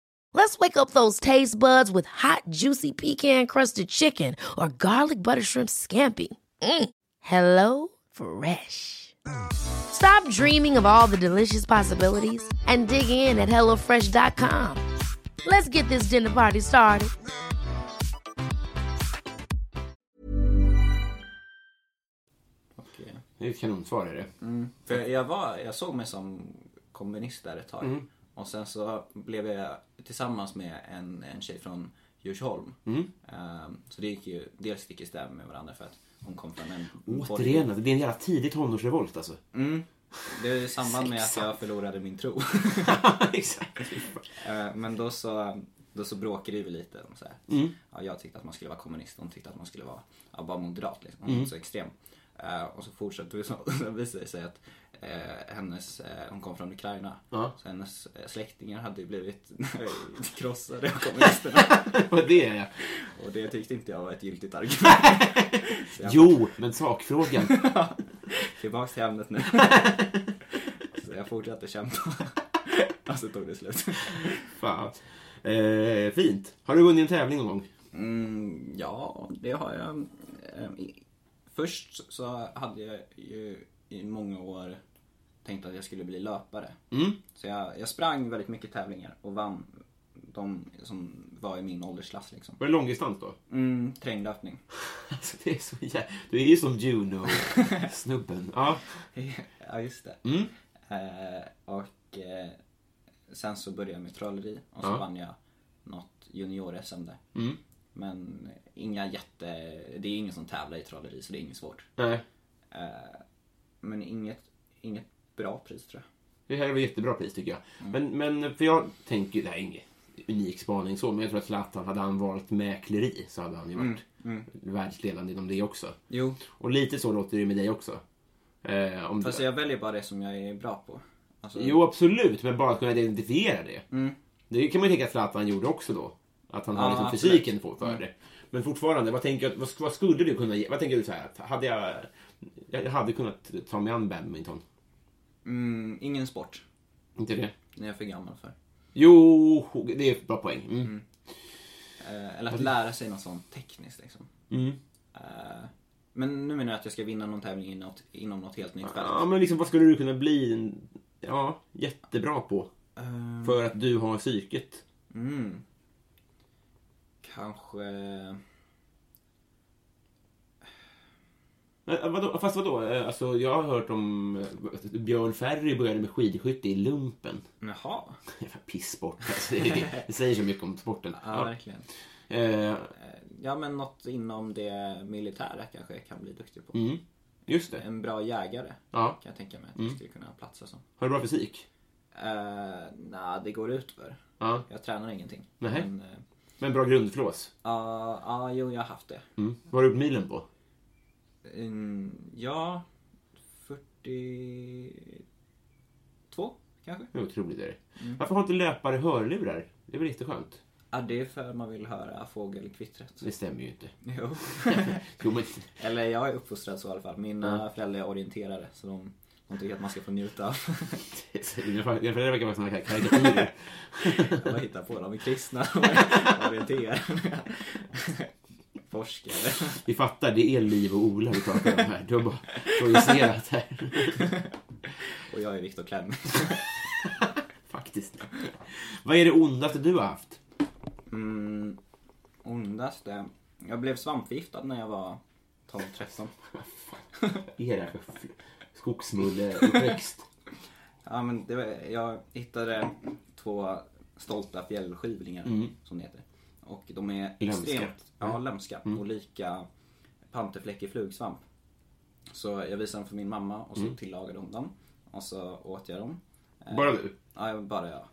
Let's wake up those taste buds with hot, juicy pecan crusted chicken or garlic butter shrimp scampi. Mm. Hello Fresh. Stop dreaming of all the delicious possibilities and dig in at HelloFresh.com. Let's get this dinner party started. Och, eh, Det är ett kanonsvar är det. För jag, var, jag såg mig som kommunist där ett tag. Och sen så blev jag tillsammans med en, en tjej från Djursholm. Ehm, så det gick ju dels stick i stäv med varandra för att hon kom från en... Återigen, alltså, det är en jävla tidig tonårsrevolt alltså. Mm. Det är i samband med att jag förlorade min tro. Exakt. Eh, Men då så, då så bråkade vi lite. om Så här. Ja, jag tyckte att man skulle vara kommunist, hon tyckte att man skulle vara ja, bara moderat. Liksom. Hon var så extrem. Eh, och så fortsatte vi så. Sen visade det sig att eh, hennes, eh, hon kom från Ukraina. Ja. Så hennes eh, släktingar hade ju blivit krossade av kommunisterna. Vad det är jag. och det tyckte inte jag var ett giltigt argument. Jo, men sakfrågan. Tillbaks till ämnet nu. så jag fortsatte kämpa. och så tog det slut. Fan. Eh, fint. Har du vunnit en tävling någon gång? Mm, ja, det har jag. Ehm, i- Först så hade jag ju i många år tänkt att jag skulle bli löpare. Så jag, jag sprang väldigt mycket tävlingar och vann de som var i min åldersklass. Liksom. Var det långdistans då? Mm, terränglöpning. Alltså, det är så jä... Du är ju som Juno-snubben. Ja. ja, just det. Eh, och eh, sen så började jag med trolleri och så Ja. vann jag något junior-SM där. Men inga jätte... Det är ingen som tävlar i trolleri så det är inget svårt. Nej, Men inget, inget bra pris tror jag. det här var ett jättebra pris tycker Mm. jag. Men, men för jag tänker ju, det här är ingen unik spaning så, men jag tror att Zlatan, hade han valt mäkleri så hade han ju varit världsledande inom det också. Mm, Jo. Och lite så låter det ju med dig också. Eh, om Fast jag väljer bara det som jag är bra på. Alltså, Jo, absolut, men bara att kunna identifiera det. Det kan man ju tänka att Zlatan gjorde också då. Att han har Mm. Ja, liksom absolut. Mm. fysiken på för det. Men fortfarande, vad, tänker, jag- vad, vad skulle du kunna ge? Vad tänker du så här? Att hade jag, jag hade kunnat ta mig an badminton. mm, ingen sport. Inte det? När jag är för gammal för. Jo, det är ett bra poäng. Mm. Eh, eller att lära sig något sånt tekniskt liksom. Mm. Eh, men nu menar jag att jag ska vinna någon tävling inom, inom något helt nytt fält. Ja, men liksom, vad skulle du kunna bli en- ja, jättebra på? Ehm. För att du har psyket. Kanske... Eh, Vadå? Fast vadå? Eh, Alltså, jag har hört om eh, att Björn Ferry började med skidskytte i lumpen. Jaha. Jävla pisssport. Alltså, det, det säger så mycket om sporten. Ja, Ja. verkligen. Eh, Ja, men något inom det militära kanske jag kan bli duktig på. mm, just det. En bra jägare Ja. kan jag tänka mig att Mm. jag skulle kunna platsa som. Har du bra fysik? Uh, Nej, det går ut för. Ja. Jag tränar ingenting. Nähä. Men, eh, Men bra grundflås? ja, ja, jo, jag har haft det. Mm. Vad har du gjort milen på? Mm, ja, 42 kanske? Det är otroligt. Är det. Mm. Varför har inte löpare hörlurar? Det är väl jätteskönt? Ja, det är för man vill höra fågelkvittret. Det stämmer ju inte. Jo. Jo, men, Eller jag är uppfostrad så i alla fall. Mina föräldrar är orienterare så de, de tycker att man ska få njuta av mina föräldrar mina föräldrar verkar vara såna här karikatyrer. vad hittar på. De är kristna och orienterare. Forskare. Vi fattar, det är liv och Ola vi pratar om här. Du har bara projicerat här. Och jag är Viktor Klemme. Faktiskt. Vad är det ondaste du har haft? Ondaste. Jag blev svampförgiftad när jag var 12-13. Era skogsmulleuppväxt. Ja, men det var, jag hittade två stolta fjällskivlingar, som det heter. Och de är Lömska. extremt ja, lömska och lika panterfläckig flugsvamp. Så jag visade dem för min mamma och så tillagade hon dem. Och så åt jag dem. Bara du? Ja, jag- bara jag.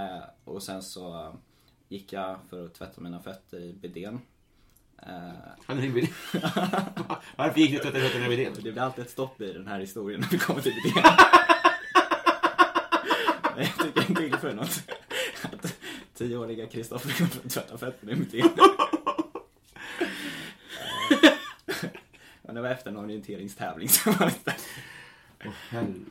Eh, och sen så gick jag för att tvätta mina fötter i bidén. Eh, Han är Varför gick du till Tvätterhötterna med det? det blir alltid ett stopp i den här historien när vi kommer till det. Nej, jag tycker inte illa för något. Att tioåriga Kristoffer kommer att tvätta fötterna i mitt hem. Men det var efter en orienteringstävling som var det.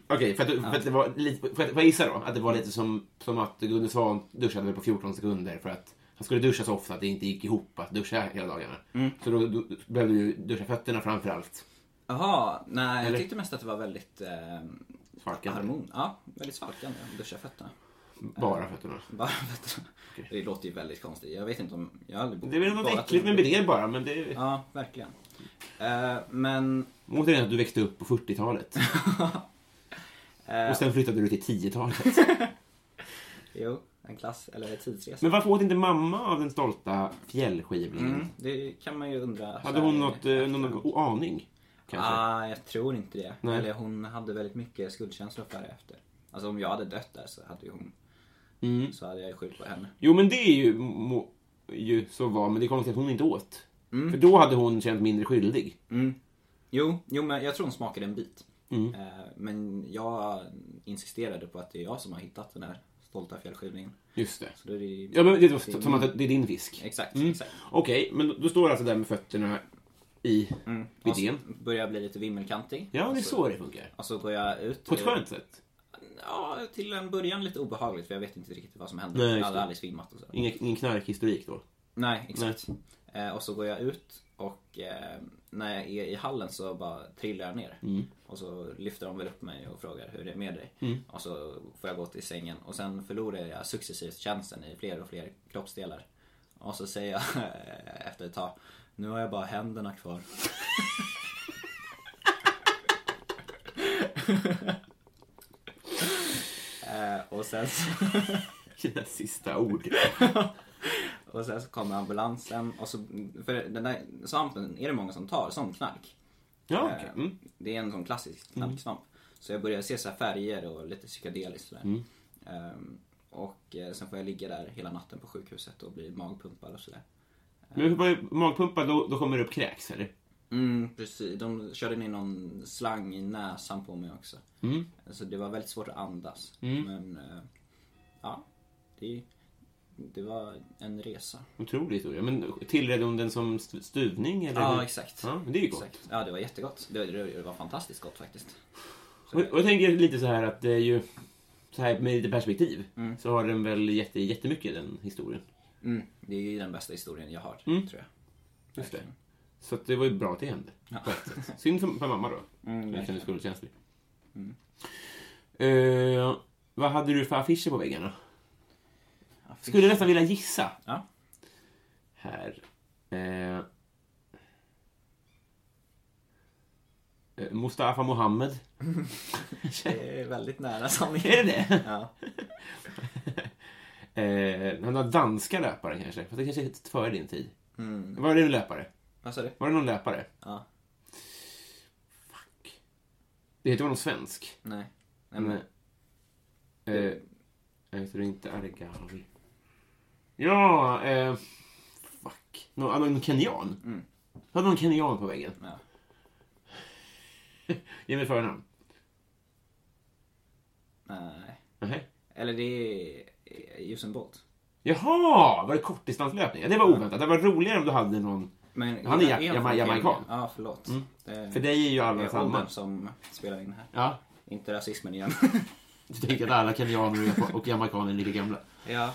Okej, för, att du- för att det var lite, för att, får jag gissa då? Att det var lite som, som att Gunde Svan duschade väl på 14 sekunder för att han skulle duscha så ofta att det inte gick ihop att duscha hela dagarna. Mm. Så då du, behövde du ju duscha fötterna framför allt. Jaha, nej Eller? jag tyckte mest att det var väldigt eh, Svalkande. harmon. Ja, väldigt svalkande. att Duscha fötterna. Bara fötterna. Bara fötterna. Det låter ju väldigt konstigt. Jag vet inte om... Jag har aldrig Det är väl något badat äckligt med under- det bara, men det är Ja, verkligen. Eh, men återigen att du växte upp på 40-talet. Och sen flyttade du till 10-talet. Jo, en klass eller en tidsresa. Men varför åt inte mamma av den stolta fjällskivlingen? Mm, det kan man ju undra. Hade hon något, eh, någon, någon aning? Kanske? Ah, jag tror inte det. Nej. Eller hon hade väldigt mycket skuldkänslor för det efter. Alltså om jag hade dött där så hade ju hon... Mm. Så hade jag ju skyllt på henne. Jo, men det är ju, må, ju så var, men det är konstigt att hon inte åt. För då hade hon känt mindre skyldig. Jo, jo men jag tror hon smakade en bit. Mm. Eh, men jag insisterade på att det är jag som har hittat den här stolta fjällskivningen. Just det. Så då är det ju... Ja, men det var som att det är din fisk. Exakt, Mm. exakt. Okej, men då- då står det alltså där med fötterna i mm. Och så bidén. börjar jag bli lite vimmelkantig. Ja, Och det är så det funkar. Och så går jag ut. På ett skönt sätt. Ja, till en början lite obehagligt för jag vet inte riktigt vad som hände. Nej, jag just hade det. aldrig svimmat och så. Ingen, ingen knarkhistorik då. Nej, exakt. Eh, och så går jag ut och eh, när jag är i hallen så bara trillar jag ner. Och så lyfter de väl upp mig och frågar hur det är med dig. Och så får jag gå till sängen och sen förlorar jag successivt känseln i fler och fler kroppsdelar. Och så säger jag efter ett tag, nu har jag bara händerna kvar. eh, och sen så... Dina sista ord. Och sen så kommer ambulansen och så, för den där svampen är det många som tar som knark. Eh, Ja, okej. Mm. Det är en sån klassisk knarksvamp. Så jag börjar se så här färger och lite psykedeliskt sådär. Ehm, och eh, sen får jag ligga där hela natten på sjukhuset och bli magpumpad och sådär. Men vad- magpumpa, då, då kommer det upp kräks, eller? Mm, precis. De körde ner någon slang i näsan på mig också. Så det var väldigt svårt att andas. Men, eh, ja. Det, det var en resa. Otrolig historia. Men tillredde hon den som st- stuvning? Eller Mm. Ja, hur? exakt. Ja, men det är ju gott. Exakt. Ja, det var jättegott. Det var, det var fantastiskt gott faktiskt. Och, och jag tänker lite så här att det är ju, så här med lite perspektiv, så har den väl jätte, jättemycket den historien. Mm. Det är ju den bästa historien jag har, Mm. tror jag. Just det. Så att det var ju bra att det hände. På ett sätt. Synd för, för mamma då. jag känner skuldkänslig. Eh, vad hade du för affischer på väggarna? Skulle nästan vilja gissa. Ja. Här. Eh, eh, Mustafa Mohammed. Det är väldigt nära sanningen. Är det det? Ja. Eh, han har danska löpare kanske, fast det kanske är före din tid. Var det en löpare? Vad sa du? Var det någon löpare? Mm. Ja. Fuck. Det heter väl någon svensk? Nej. Nej, men, Nej. Eh, jag heter inte Argawi. Ja, eh, fuck. Någon, ah, någon kenyan? Mm. Hade någon kenyan på väggen? Ja. Ge mig förnamn. nej. Nej. Eller det är Usain Bolt. Jaha, var det kortdistanslöpning? Ja, det var oväntat. Det var roligare om du hade någon... Men, Han är ja- han från jama- jamaican. Mm. Kenya? Ja, förlåt. Eh, Det För dig är ju det alla är åldern samma. som spelar in här. Ja, Inte rasismen igen. du tänker att alla kenyaner och jamaikaner är lika gamla. ja.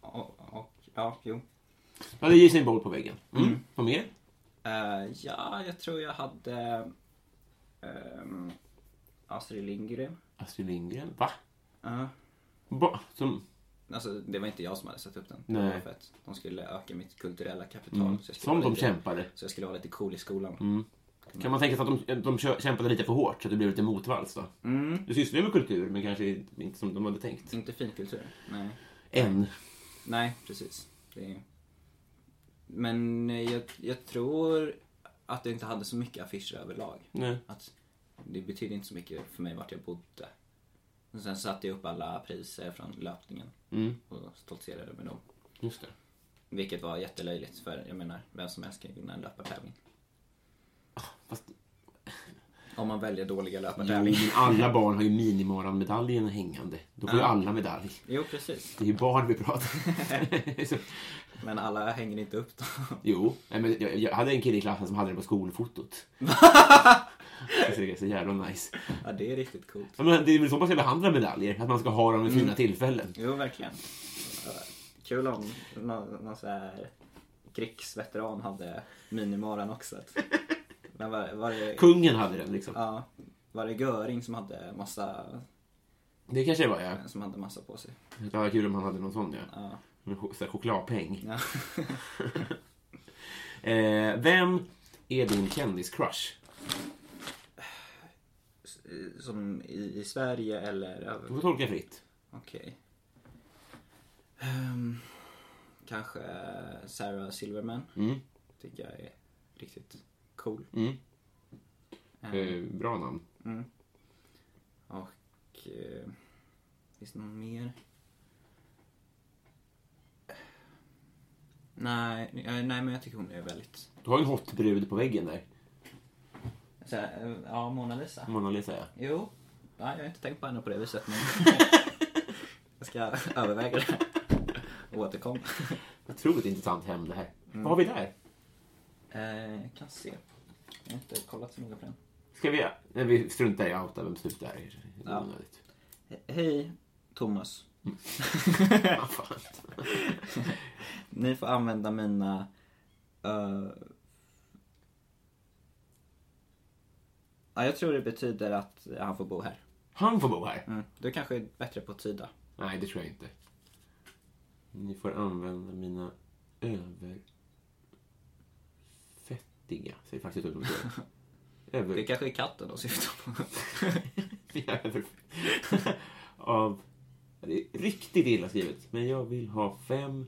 Och, och, ja, jo. Ja, det är Usain Bolt på väggen. Mm. Vad mer? Eh, ja, jag tror jag hade ehm, Astrid Lindgren. Astrid Lindgren. Va? Ja. Ba, som, Alltså, det var inte jag som hade satt upp den. Nej. Mm. Det var För att de skulle öka mitt kulturella kapital. Så jag skulle som vara de Mm. lite, kämpade. Så jag skulle vara lite cool i skolan. Kan man tänka sig att de, de kö- kämpade lite för hårt så att det blev lite motvalls då? Du sysslar ju med kultur, men kanske inte som de hade tänkt. Inte finkultur. Nej. Än. Nej, precis. Det är... Men eh, jag, jag tror att jag inte hade så mycket affischer överlag. Nej. Att det betydde inte så mycket för mig vart jag bodde. Och Mm. sen satte jag upp alla priser från löpningen och stoltserade med dem. Just det. Vilket var jättelöjligt för jag menar, vem som helst kan ju vinna en löpartävling. Ah, Fast, Om man väljer dåliga jo, löpartävlingar. men alla barn har ju minimaraanmedaljen hängande. Då får ju alla medalj. Jo precis, Det är ju barn vi pratar Så- men alla hänger inte upp dem. Jo, nej, men jag, jag hade en kille i klassen som hade det på skolfotot. Jag tycker det är så jävla nice. Ja, det är riktigt coolt. Ja, Men det är väl så man ska behandla medaljer, att man ska ha dem vid Mm. fina tillfällen. Jo, verkligen. Ja, Kul om någon, någon så här krigsveteran hade minimaran också. Men var, var det... Kungen hade den liksom. Ja, var det Göring som hade massa, Det kanske det var ja. som hade massa på sig? Det var kul om han hade någon sån ja. Ja. En ch- så här chokladpeng. Ja. Eh, vem är din kändiscrush? Som i, i Sverige eller Du över... får tolka fritt. Okej. Ehm, kanske Sarah Silverman. Mm. Tycker jag är riktigt cool. Mm. Ehm, Eh, bra namn. Och... Eh, finns det någon mer? Nej, eh, nej men jag tycker hon är väldigt... Du har ju en hot brud på väggen där. Så, här, eh, ja, Mona Lisa. Mona Lisa ja. Jo. Nej, jag har inte tänkt på henne på det viset men... jag ska överväga det. Och återkomma. Otroligt intressant hem det här. Mm. Vad har vi där? Eh, jag kan se. Jag har inte kollat så noga på den. Ska vi... Nej, vi struntar i att outa vem slut det här är. Det är Ja. onödigt. He- Hej, Thomas. Ah, fan. Ni får använda mina... eh, Ja, jag tror det betyder att han får bo här. Han får bo här. Mm. Du kanske är bättre på att tyda. Nej, det tror jag inte. Ni får använda mina överfettiga... Säger faktiskt ut om det. Det Över... kanske är katten de syftar på. Över... Av... Ja, Det är riktigt illa skrivet. Men jag vill ha fem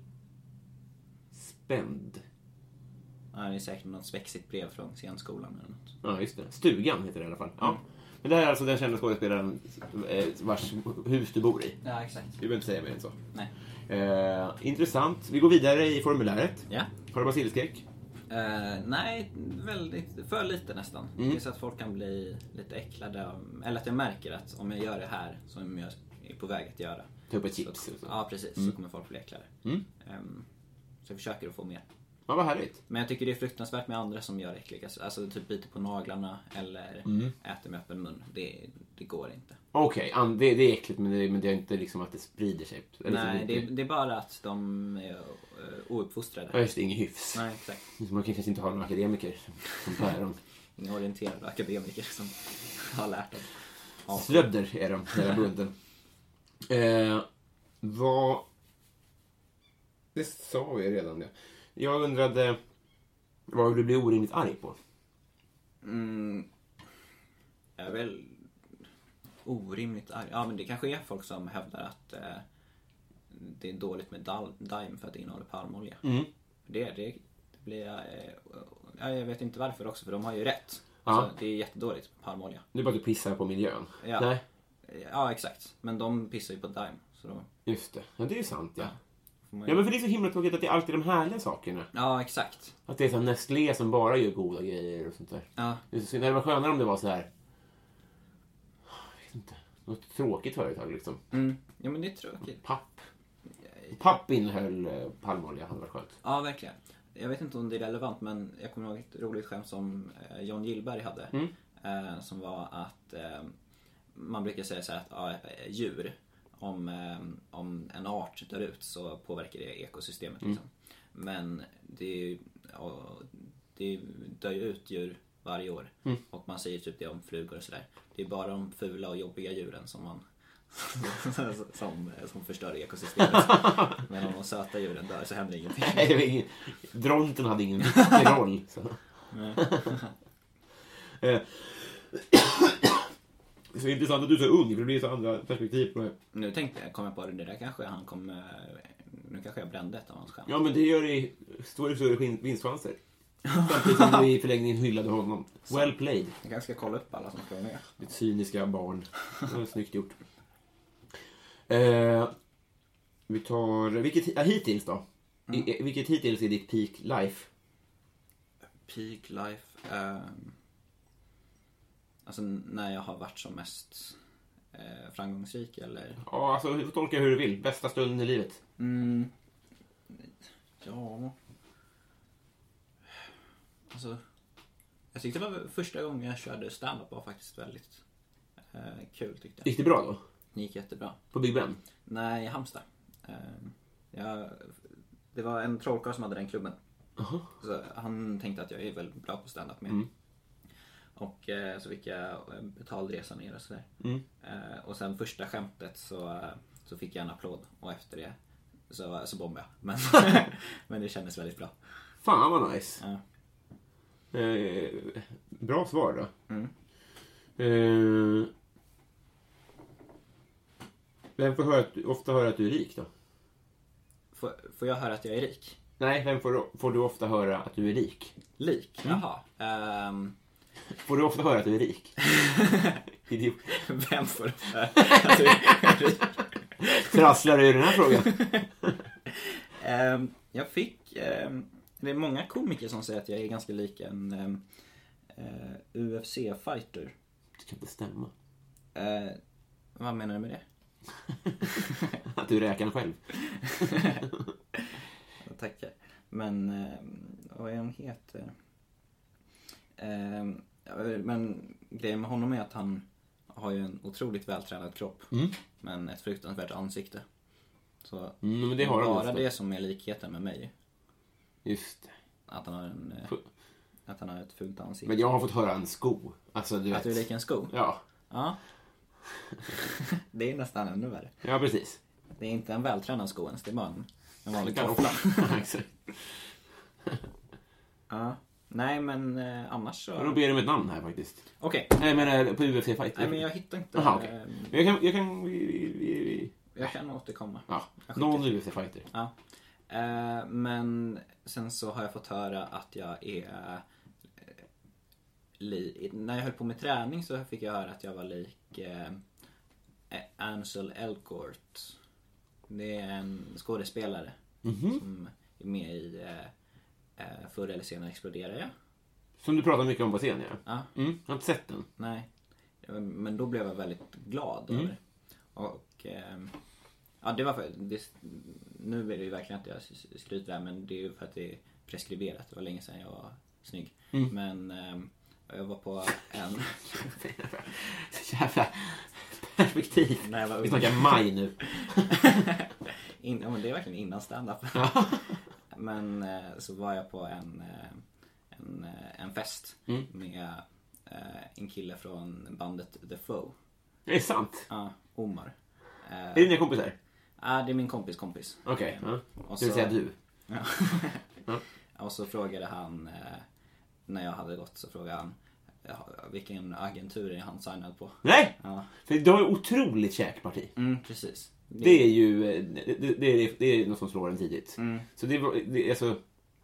spänd. ja, det är säkert något spexigt brev från scenskolan eller något. Ja, just det. Stugan heter det i alla fall. Mm. Ja. Men det här är alltså den kända skådespelaren eh, vars hus du bor i. Ja, exakt. Vi behöver inte säga mer än så. Nej. Eh, intressant. Vi går vidare i formuläret. Ja. Har du basilskräck? Eh, nej, väldigt, för lite nästan. Mm. Det är så att folk kan bli lite äcklade. av- Eller att jag märker att om jag gör det här som jag är på väg att göra. Ta upp ett chips. Så, och så. Mm. ja, precis. Så kommer folk bli äcklade. Ehm, så jag försöker att få mer. Ja, vad härligt. Men jag tycker det är fruktansvärt med andra som gör äckliga Alltså typ biter på naglarna eller Mm. äter med öppen mun. Det, det går inte. Okej, an- det, det är äckligt men det, men det är inte liksom att det sprider sig. Eller så Nej, det, det, det är bara att de är eh, ouppfostrade. Ja, just det. Ingen hyfs. Nej, exakt. Man kan kanske inte ha några akademiker som, som päron. Inga orienterade akademiker som har lärt dem. Slödder är de, hela bunden. eh, vad... Det sa vi redan, ja. Jag undrade vad du blir orimligt arg på. Jag är väl orimligt arg. Ja, men det kanske är folk som hävdar att eh, det är dåligt med dal- Daim för att det innehåller palmolja. Mm. Det, det blir jag... Eh, ja, jag vet inte varför också, för de har ju rätt. Ja. Alltså, det är jättedåligt med palmolja. Det är bara att du pissar på miljön. Ja. Nej, Ja, exakt. Men de pissar ju på Daim. Så då just det. Ja, det är ju sant, ja. får man ju... Ja, men för det är så himla tråkigt att det är alltid de härliga sakerna. ja, exakt. Att det är så här Nestlé som bara gör goda grejer och sånt där. Ja, Det är så synd. Det var skönare om det var så här... Jag vet inte. Något tråkigt företag liksom. mm. ja men det är tråkigt. Papp. Papp innehöll eh, palmolja. Hade varit skönt. Ja, verkligen. Jag vet inte om det är relevant men jag kommer ihåg ett roligt skämt som eh, John Gillberg hade. Eh, som var att eh, man brukar säga så här att ja, eh, djur, om, eh, om en art dör ut så påverkar det ekosystemet. Liksom. Men det, är ju- ja, det dör ju ut djur varje år. Och man säger typ det om flugor och sådär. Det är bara de fula och jobbiga djuren som man som, som förstör ekosystemet. Men om de söta djuren dör så händer ingenting. Nej, det var ingen... Dronten hade ingen viktig roll. Så. Eh, så det är intressant att du är så ung, för det blir så andra perspektiv på det. Nu tänkte jag, kom jag på det, det där kanske han kommer... Nu kanske jag brände ett av hans skämt. Ja, men det gör dig... Står det större skin- vinstchanser. Samtidigt som du i förlängningen hyllade honom. Well played. Jag kanske ska kolla upp alla som ska vara med. Ditt cyniska barn. Det var snyggt gjort. Eh, vi tar... Vilket, ja, hittills då? I- Vilket hittills är ditt peak life? Peak life. ehm, alltså när jag har varit som mest eh, framgångsrik eller? Ja, alltså du får tolka hur du vill. Bästa stunden i livet. Mm. Ja. Alltså. Jag tyckte det var första gången jag körde standup var faktiskt väldigt eh, kul tyckte jag. Gick det bra då? Det gick jättebra. På Big Ben? Nej, i Halmstad. Ehm, jag, det var en trollkarl som hade den klubben. Så han tänkte att jag är väldigt bra på standup med. Och eh, så fick jag eh, betald resa ner och sådär. Eh, och sen första skämtet så, eh, så fick jag en applåd och efter det så, så bombade jag. Men, men det kändes väldigt bra. Fan vad nice. Ja. Eh, bra svar då. Mm. Eh, vem får höra att, du- ofta höra att du är rik då? Får, får jag höra att jag är rik? Nej, vem får, får du ofta höra att du är rik? Lik? Jaha. Ehm, Får du ofta höra att du är rik? Idiot. vem får höra att jag är rik? Trasslar du i den här frågan? Ehm, jag fick... ehm, det är många komiker som säger att jag är ganska lik en ehm, eh, UFC-fighter. Det kan inte stämma. Eh, vad menar du med det? Att du är räkaren själv. Jag tackar. Men ehm, vad är han heter? Ehm, ja, men grejen med honom är att han har ju en otroligt vältränad kropp. Men ett fruktansvärt ansikte. Så Mm, men det har han bara ofta. det som är likheten med mig. Just det. Att han har, en, eh, att han har ett fult ansikte. Men jag har fått höra en sko. Alltså, du vet. Att du är lik en sko? Ja. Ja. det är nästan ännu värre. ja, precis. Det är inte en vältränad sko ens, det är bara en, en vanlig Kan toffla. ofta. Exakt. Ja. Nej men eh, annars så... Ja, då ber jag om ett namn här faktiskt. Okej. Nej, men på UFC Fight. Nej men jag hittar inte... Jaha, okej. eh, Men jag kan... Jag kan vi, vi, vi, vi. Jag kan återkomma. Ja, någon UFC Fighter. Ja. Eh, men sen så har jag fått höra att jag är... eh, Li... När jag höll på med träning så fick jag höra att jag var lik eh, A- Ansel Elgort. Det är en skådespelare som är med i eh, eh, Förr eller senare exploderar jag. Som du pratar mycket om på scenen, ja. Ja. Mm, jag har inte sett den. Nej. Men då blev jag väldigt glad Mm. över det. Och... ehm, ja, det var för... Det, nu är det ju verkligen inte jag s- skryter där men det är ju för att det är preskriberat. Det var länge sedan jag var snygg. Mm. Men ehm, jag var på en... Så jävla perspektiv. Nej, vad- vi snackar maj nu. in, ja, men det är verkligen innan stand-up. men eh, så var jag på en, eh, en, eh, en fest Mm. med eh, en kille från bandet The Foe. Det är sant. Ja, Omar. Eh, Är det dina kompisar? ah, det är min kompis kompis. Okej. ja. Och Det vill så- säga du. Ja. Och så frågade han, eh, när jag hade gått, så frågade han eh, vilken agentur är han signad på? Nej! Ja. För du har ju otroligt käkparti. Mm, precis. Det är ju eh, det, det, det, är, det är något som slår en tidigt. Mm. Så det, var- det är så...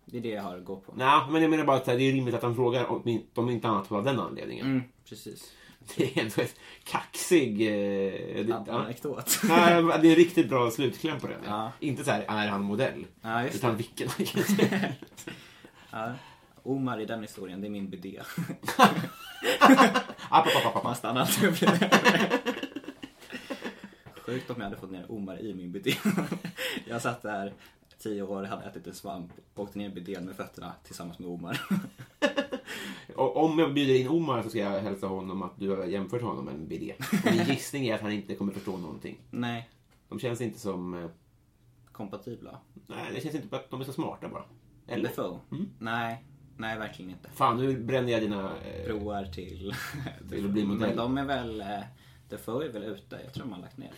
det är det jag har att gå på. Nej, men jag menar bara att så här, det är rimligt att han frågar om, om inte annat av den anledningen. Mm, precis. Det är ändå ett kaxig... Eh, det, ja. Anekdot. Nej, men det är en riktigt bra slutkläm på den. ja. Ja. Inte så här, är han modell? Ja, just utan vilken agent? Ja. Omar i den historien, det är min bidé. App, app, app, app, Man app. stannar alltid upp lite. Sjukt om jag hade fått ner Omar i min bidé. Jag satt där tio år, hade ätit en svamp, åkte ner i bidén med fötterna tillsammans med Omar. Och Om jag bjuder in Omar så ska jag hälsa honom att du har jämfört honom med en bidé. Och Min gissning är att han inte kommer förstå någonting. Nej, De känns inte som... eh, kompatibla. Nej, det känns inte att de är så smarta bara. Eller? LFO? Mm. Nej, nej verkligen inte. Fan, nu bränner jag dina... Eh, Broar till... Till att bli modell. Men de är väl... eh, Defoe är väl ute, jag tror de har lagt ner.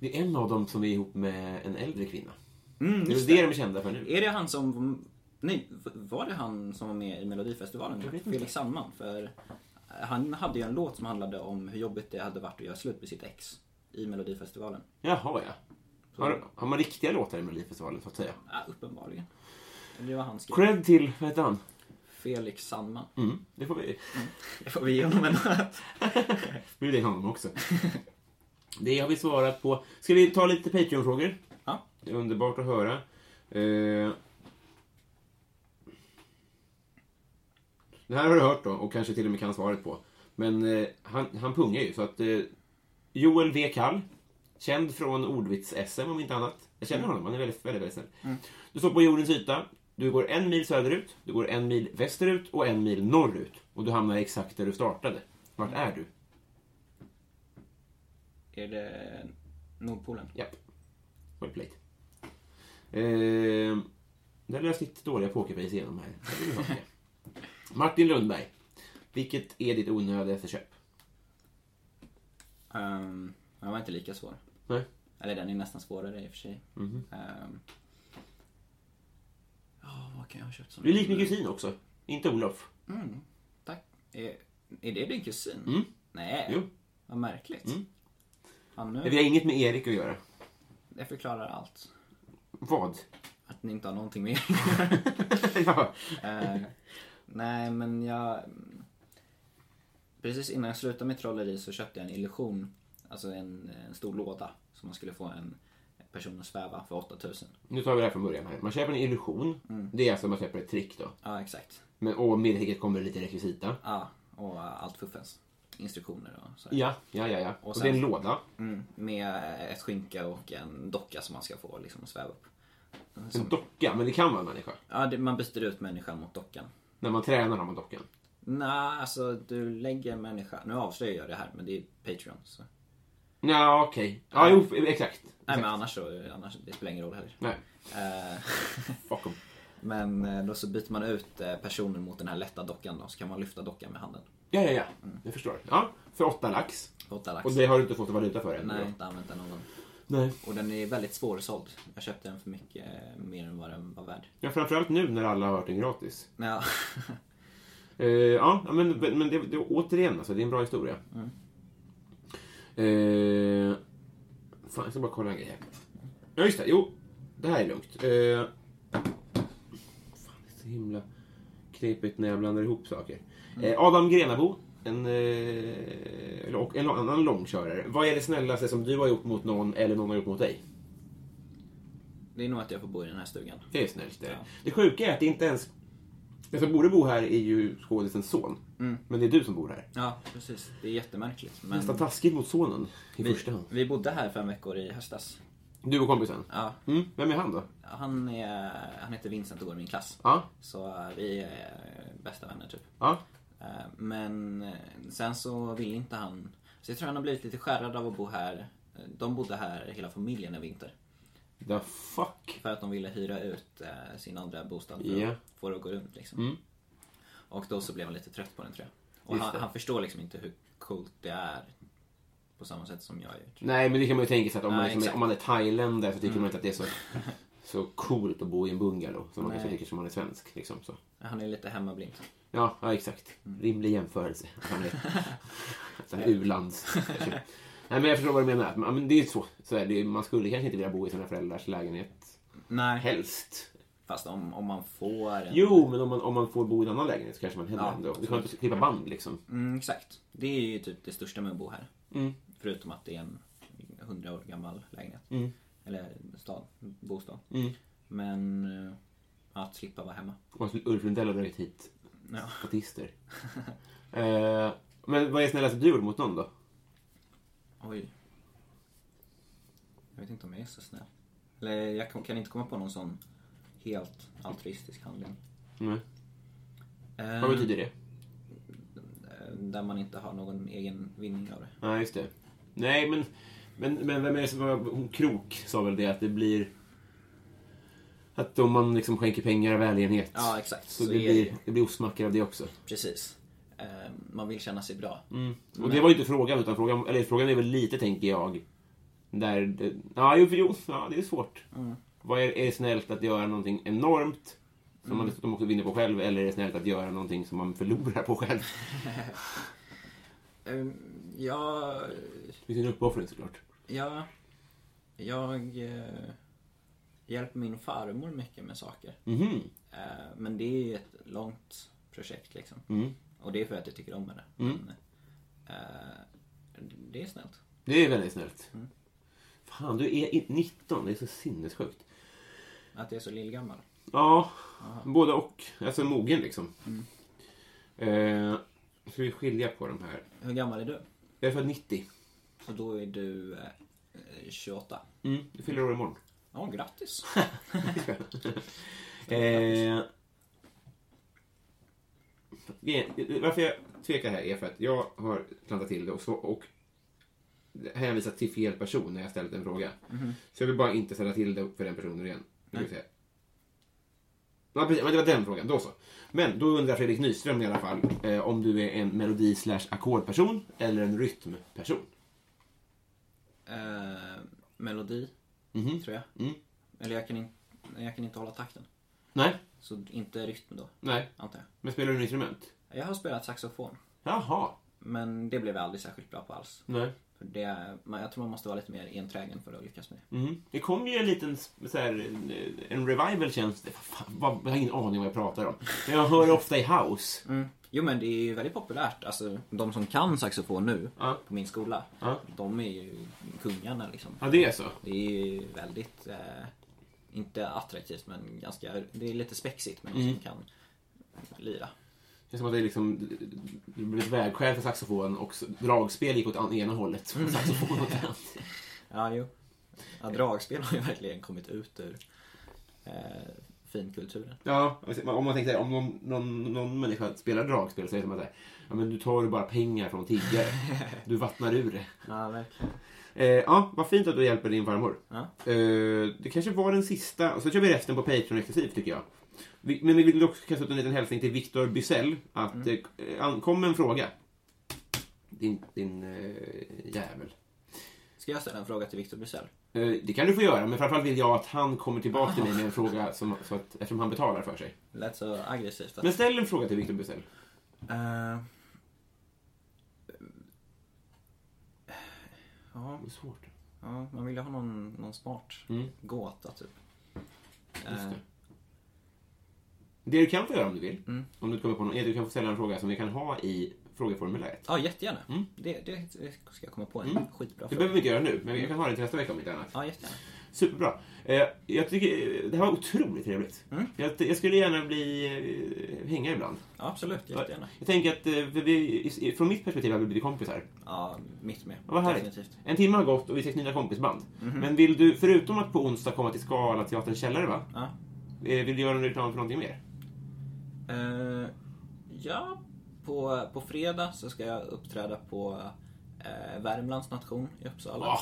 det är en av dem som är ihop med en äldre kvinna. det är väl Mm, det de är kända för nu. Är det han som... Nej, v- var det han som var med i Melodifestivalen? vet inte. Felix Sandman? För han hade ju en låt som handlade om hur jobbigt det hade varit att göra slut med sitt ex i Melodifestivalen. Jaha, ja. Har, har man riktiga låtar i Melodifestivalen, så att säga? Ja, uppenbarligen. Det var han skrev. Cred till, vad heter han? Felix Sandman. Mm, det får vi... Det får vi ge honom en bjuda in honom också. Det har vi svarat på. Ska vi ta lite Patreon-frågor? Ja. Det är underbart att höra. Eh, Det här har du hört då och kanske till och med kan svaret på. Men eh, han, han pungar ju så att eh, Joel V. Kall, känd från ordvits-SM om inte annat. Jag känner honom, han är väldigt, väldigt, väldigt snäll. Du står på jordens yta, du går en mil söderut, du går en mil västerut och en mil norrut. Och du hamnar exakt där du startade. Vart är du? Är det Nordpolen? Japp. Well played. Eh, där löste ditt dåliga pokerface igenom här. Det vill jag ha. Martin Lundberg. Vilket är ditt onödigaste köp? Um, den var inte lika svår. Nej. Eller den är nästan svårare i och för sig. Mhm. Ehm, ja, vad kan jag ha köpt som... Du är lik min kusin också. Inte Olof. Tack. Är, är det din kusin? Mm. Nej. Jo. Vad märkligt. Mm. Ja, nu, Vi har inget med Erik att göra. Det förklarar allt. Vad? Att ni inte har någonting mer. ja. Eh, nej, men jag... Precis innan jag slutade med trolleri så köpte jag en illusion. Alltså en, en stor låda. Som man skulle få en person att sväva för 8000. Nu tar vi det här från början. här. Man köper en illusion. Det är alltså man köper ett trick då. Ja, exakt. Men, och med det kommer lite rekvisita. Ja, och eh, allt fuffens. Instruktioner och sådär. Ja, ja, ja. ja. Och, sen- det är en låda. Mm, med ett skynke och en docka som man ska få liksom att sväva upp. En docka. Men det kan vara en människa. Ja, det, man byter ut människan mot dockan. När man tränar har man dockan. Nej, alltså du lägger människan... Nu avslöjar jag det här, men det är Patreon. Så. Ja, okej. Ja, jo, exakt. Nej, men exakt. annars så... Annars, det spelar ingen roll heller. Nej. Eh, Fuck 'em. men eh, då så byter man ut eh, personen mot den här lätta dockan då, så kan man lyfta dockan med handen. Ja, ja, ja. Mm. Jag förstår. Ja, för åtta lax. För Åtta lax. Och det har du inte fått valuta för än? Nej, jag har då? inte använt den någon gång. Nej. Och den är väldigt svårsåld. Jag köpte den för mycket eh, mer än vad den var värd. Ja, framförallt nu när alla har hört den gratis. Ja, Eh, ja, ja, men, men det, det, återigen alltså, det är en bra historia. Eh, fan, jag ska bara kolla en grej här. Ja, just det. Jo, det här är lugnt. Eh, fan, det är så himla knepigt när jag blandar ihop saker. Eh, Adam Grenabo, en, eh, och en annan långkörare. Vad är det snällaste som du har gjort mot någon eller någon har gjort mot dig? det är nog att jag får bo i den här stugan. Det är snällt. Det, Ja. det sjuka är att det inte ens... Den som borde bo här är ju skådisens son. Men det är du som bor här. Ja, precis. Det är jättemärkligt. Men Nästan taskigt mot sonen i vi, första hand. vi bodde här fem veckor i höstas. Du och kompisen? Ja, Mm. Vem är han då? han, är, han heter Vincent och går i min klass. Ja, Så eh, vi är eh, bästa vänner typ. ja. Eh, Men eh, sen så vill inte han... Så jag tror han har blivit lite skärrad av att bo här. Eh, De bodde här hela familjen en vinter. The fuck. För att de ville hyra ut eh, sin andra bostad för Ja. Mm. att få det att gå runt liksom. Och då så blev han lite trött på den tror jag. Och Just han, det. han förstår liksom inte hur coolt det är. På samma sätt som jag gör. tror jag. Nej, men det kan man ju tänka sig att om, man, Nej, liksom, exakt. Mm. om man är thailändare så tycker man inte att det är så, så coolt att bo i en bungalow. Som man kanske tycker som man är svensk. Liksom, så. Han är lite hemmablind. Ja, ja, exakt. Mm. Rimlig jämförelse. Att han är- så här U-lands... Nej, men jag förstår vad du menar. Att man- ja, Men det är ju så. så är det, ju. man skulle kanske inte vilja bo i sina föräldrars lägenhet. Nej. Helst. Fast om, om man får en... Jo, men om man, om man får bo i en annan lägenhet så kanske man hellre Ja, ändå. Du kan inte klippa band liksom. Mm, exakt. Det är ju typ det största med att bo här. Förutom att det är en 100 år gammal lägenhet. Eller stad, bostad. Men eh, att slippa vara hemma. Och att Ulf Lundell har dragit hit Ja. statister. eh, men vad är snällaste du gjort mot någon då? Oj. Jag vet inte om jag är så snäll. Eller jag kan, kan inte komma på någon sån helt altruistisk handling. Mm. Eh, Vad betyder det? där man inte har någon egen vinning av det. Nej, just det. Nej, men, men, men vem är det som... var- Hon Krok sa väl det att det blir... Att om man liksom skänker pengar av välgörenhet Ja, exakt. så, Så det, är det blir, ju. det blir ostmackor av det också. Precis. Eh, man vill känna sig bra. Och det var ju inte frågan, utan frågan, eller frågan är väl lite, tänker jag, där... det- Ja, jo, för- jo ja, det är svårt. Vad är, är det snällt att göra någonting enormt som man dessutom också vinner på själv, eller är det snällt att göra någonting som man förlorar på själv? Eh, jag Det finns ju en uppoffring såklart. Ja, jag eh, hjälper min farmor mycket med saker. Mm. Eh, men det är ju ett långt projekt liksom. Mm. Och det är för att jag tycker om henne. Men, eh, det är snällt. Det är väldigt snällt. Fan, du är i- 19. Det är så sinnessjukt. Att jag är så lillgammal. Ja, både och. Alltså mogen liksom. Eh, ska vi skilja på de här? Hur gammal är du? Jag är född 90. Så då är du eh, eh, 28. Mm. Du fyller år imorgon. Ja, grattis. Eh, det- varför jag tvekar här är för att jag har klantat till det och, så, och hänvisat till fel person när jag ställt en fråga. Så jag vill bara inte ställa till det för den personen igen. Nu ska vi se. Ja, precis, men det var den frågan, då så. Men då undrar Fredrik Nyström i alla fall eh, om du är en melodi slash ackordperson eller en rytmperson. Eh, melodi, tror jag. Mm. Eller jag kan, in, jag kan inte hålla takten. Nej, Så inte rytm då, nej. antar jag. Men spelar du en instrument? Jag har spelat saxofon. Jaha. Men det blev jag aldrig särskilt bra på alls. Nej. För det, men jag tror man måste vara lite mer enträgen för att lyckas med det. Mm. Det kom ju en liten så här, en revival känns det. Fan, vad, jag har ingen aning vad jag pratar om. Men jag hör ofta i house. Jo men det är ju väldigt populärt. Alltså de som kan saxofon nu Ja. på min skola. Ja. De är ju kungarna liksom. Ja, det är så. Det är ju väldigt, eh, inte attraktivt men ganska, det är lite spexigt men mm. som kan lira. Det är som att det liksom det blev ett vägskäl för saxofon och s- dragspel gick åt an- ena hållet och saxofon åt andra. Ja, jo. Ja, dragspel har ju verkligen kommit ut ur eh, finkulturen. Ja, om man tänker så här, om någon, någon, någon människa spelar dragspel så är det som att så här, ja, men du tar ju bara pengar från tiggare. Du vattnar ur det. Ja, verkligen. Eh, ja, vad fint att du hjälper din farmor. Ja. Eh, det kanske var den sista, och så kör vi resten på Patreon exklusivt tycker jag. Vi, men vi vill också kasta ut en liten hälsning till Viktor Bysell att Mm. eh, an- kom med en fråga. Din, din eh, jävel. Ska jag ställa en fråga till Victor Bysell? Eh, det kan du få göra, men framförallt vill jag att han kommer tillbaka till mig med en fråga som, så att, eftersom han betalar för sig. Det lät så aggressivt. Att, Men ställ en fråga till Viktor Bysell. Eh, Det är svårt. ja, man vill ju ha någon, någon smart Mm. gåta typ. Eh, Det du kan få göra om du vill, Mm. om du kommer på någon, är att du kan få ställa en fråga som vi kan ha i frågeformuläret. Ja, jättegärna. Det, det ska jag komma på en skitbra Det fråga. behöver Mm. vi inte göra nu, men vi kan ha det till nästa vecka om inte annat. Ja, jättegärna. Superbra. Eh, jag tycker eh, det här var otroligt trevligt. Mm. Jag, jag skulle gärna bli eh, hänga ibland. Ja, absolut, jättegärna. Jag tänker att eh, för vi, i- från mitt perspektiv har vi blivit kompisar. Ja, mitt med. Vad härligt. Definitivt. Mhm. En timme har gått och vi ska knyta kompisband. Men vill du, förutom att på onsdag komma till Skala teaterns källare, va? Ja. Eh, vill du göra en reklam för någonting mer? Eh, ja, på, på fredag så ska jag uppträda på eh, Värmlands nation i Uppsala. Ah,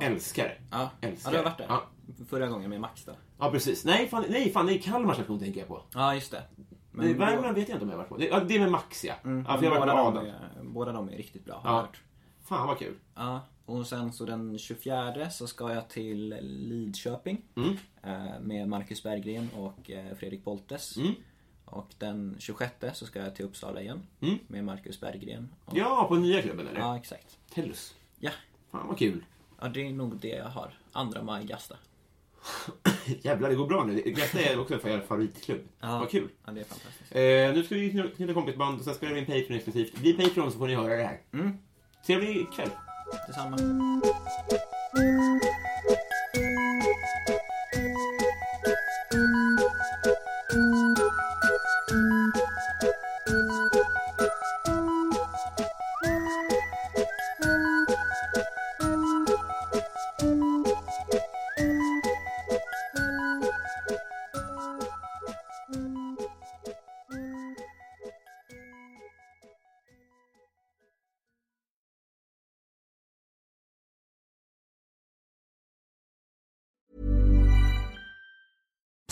Älskar. ja. ja, älskar. du har varit där. Ja. Förra gången med Max där. Ja, precis. Nej, fan, nej, fan, nej, Kalmar station tänker jag på. Ja, just det. Men då- Mm, Värmland vet jag inte om jag har varit på. Det, ja, det är med Max, ja. ja för jag har varit båda, med de Adam. är, båda de är riktigt bra. har jag Ja. hört. Fan, vad kul. Ja, och sen så den 24 så ska jag till Lidköping Mm. eh, med Marcus Berggren och eh, Fredrik Boltes. Mm. Och den 26 så ska jag till Uppsala igen Mm. med Marcus Berggren. Och, Ja, på nya klubben, eller? ja, exakt. Tellus. Ja, Fan, vad kul. ja, det är nog det jag har. Andra maj Gasta. Jävlar, det går bra nu. Detta är också en favoritklubb. Vad kul. Ja, det är fantastiskt. Eh, nu ska vi kny- knyta kompisband och sen spelar vi in Patreon exklusivt. Bli Patreon så får ni höra det här. Mm. Trevlig kväll. Detsamma.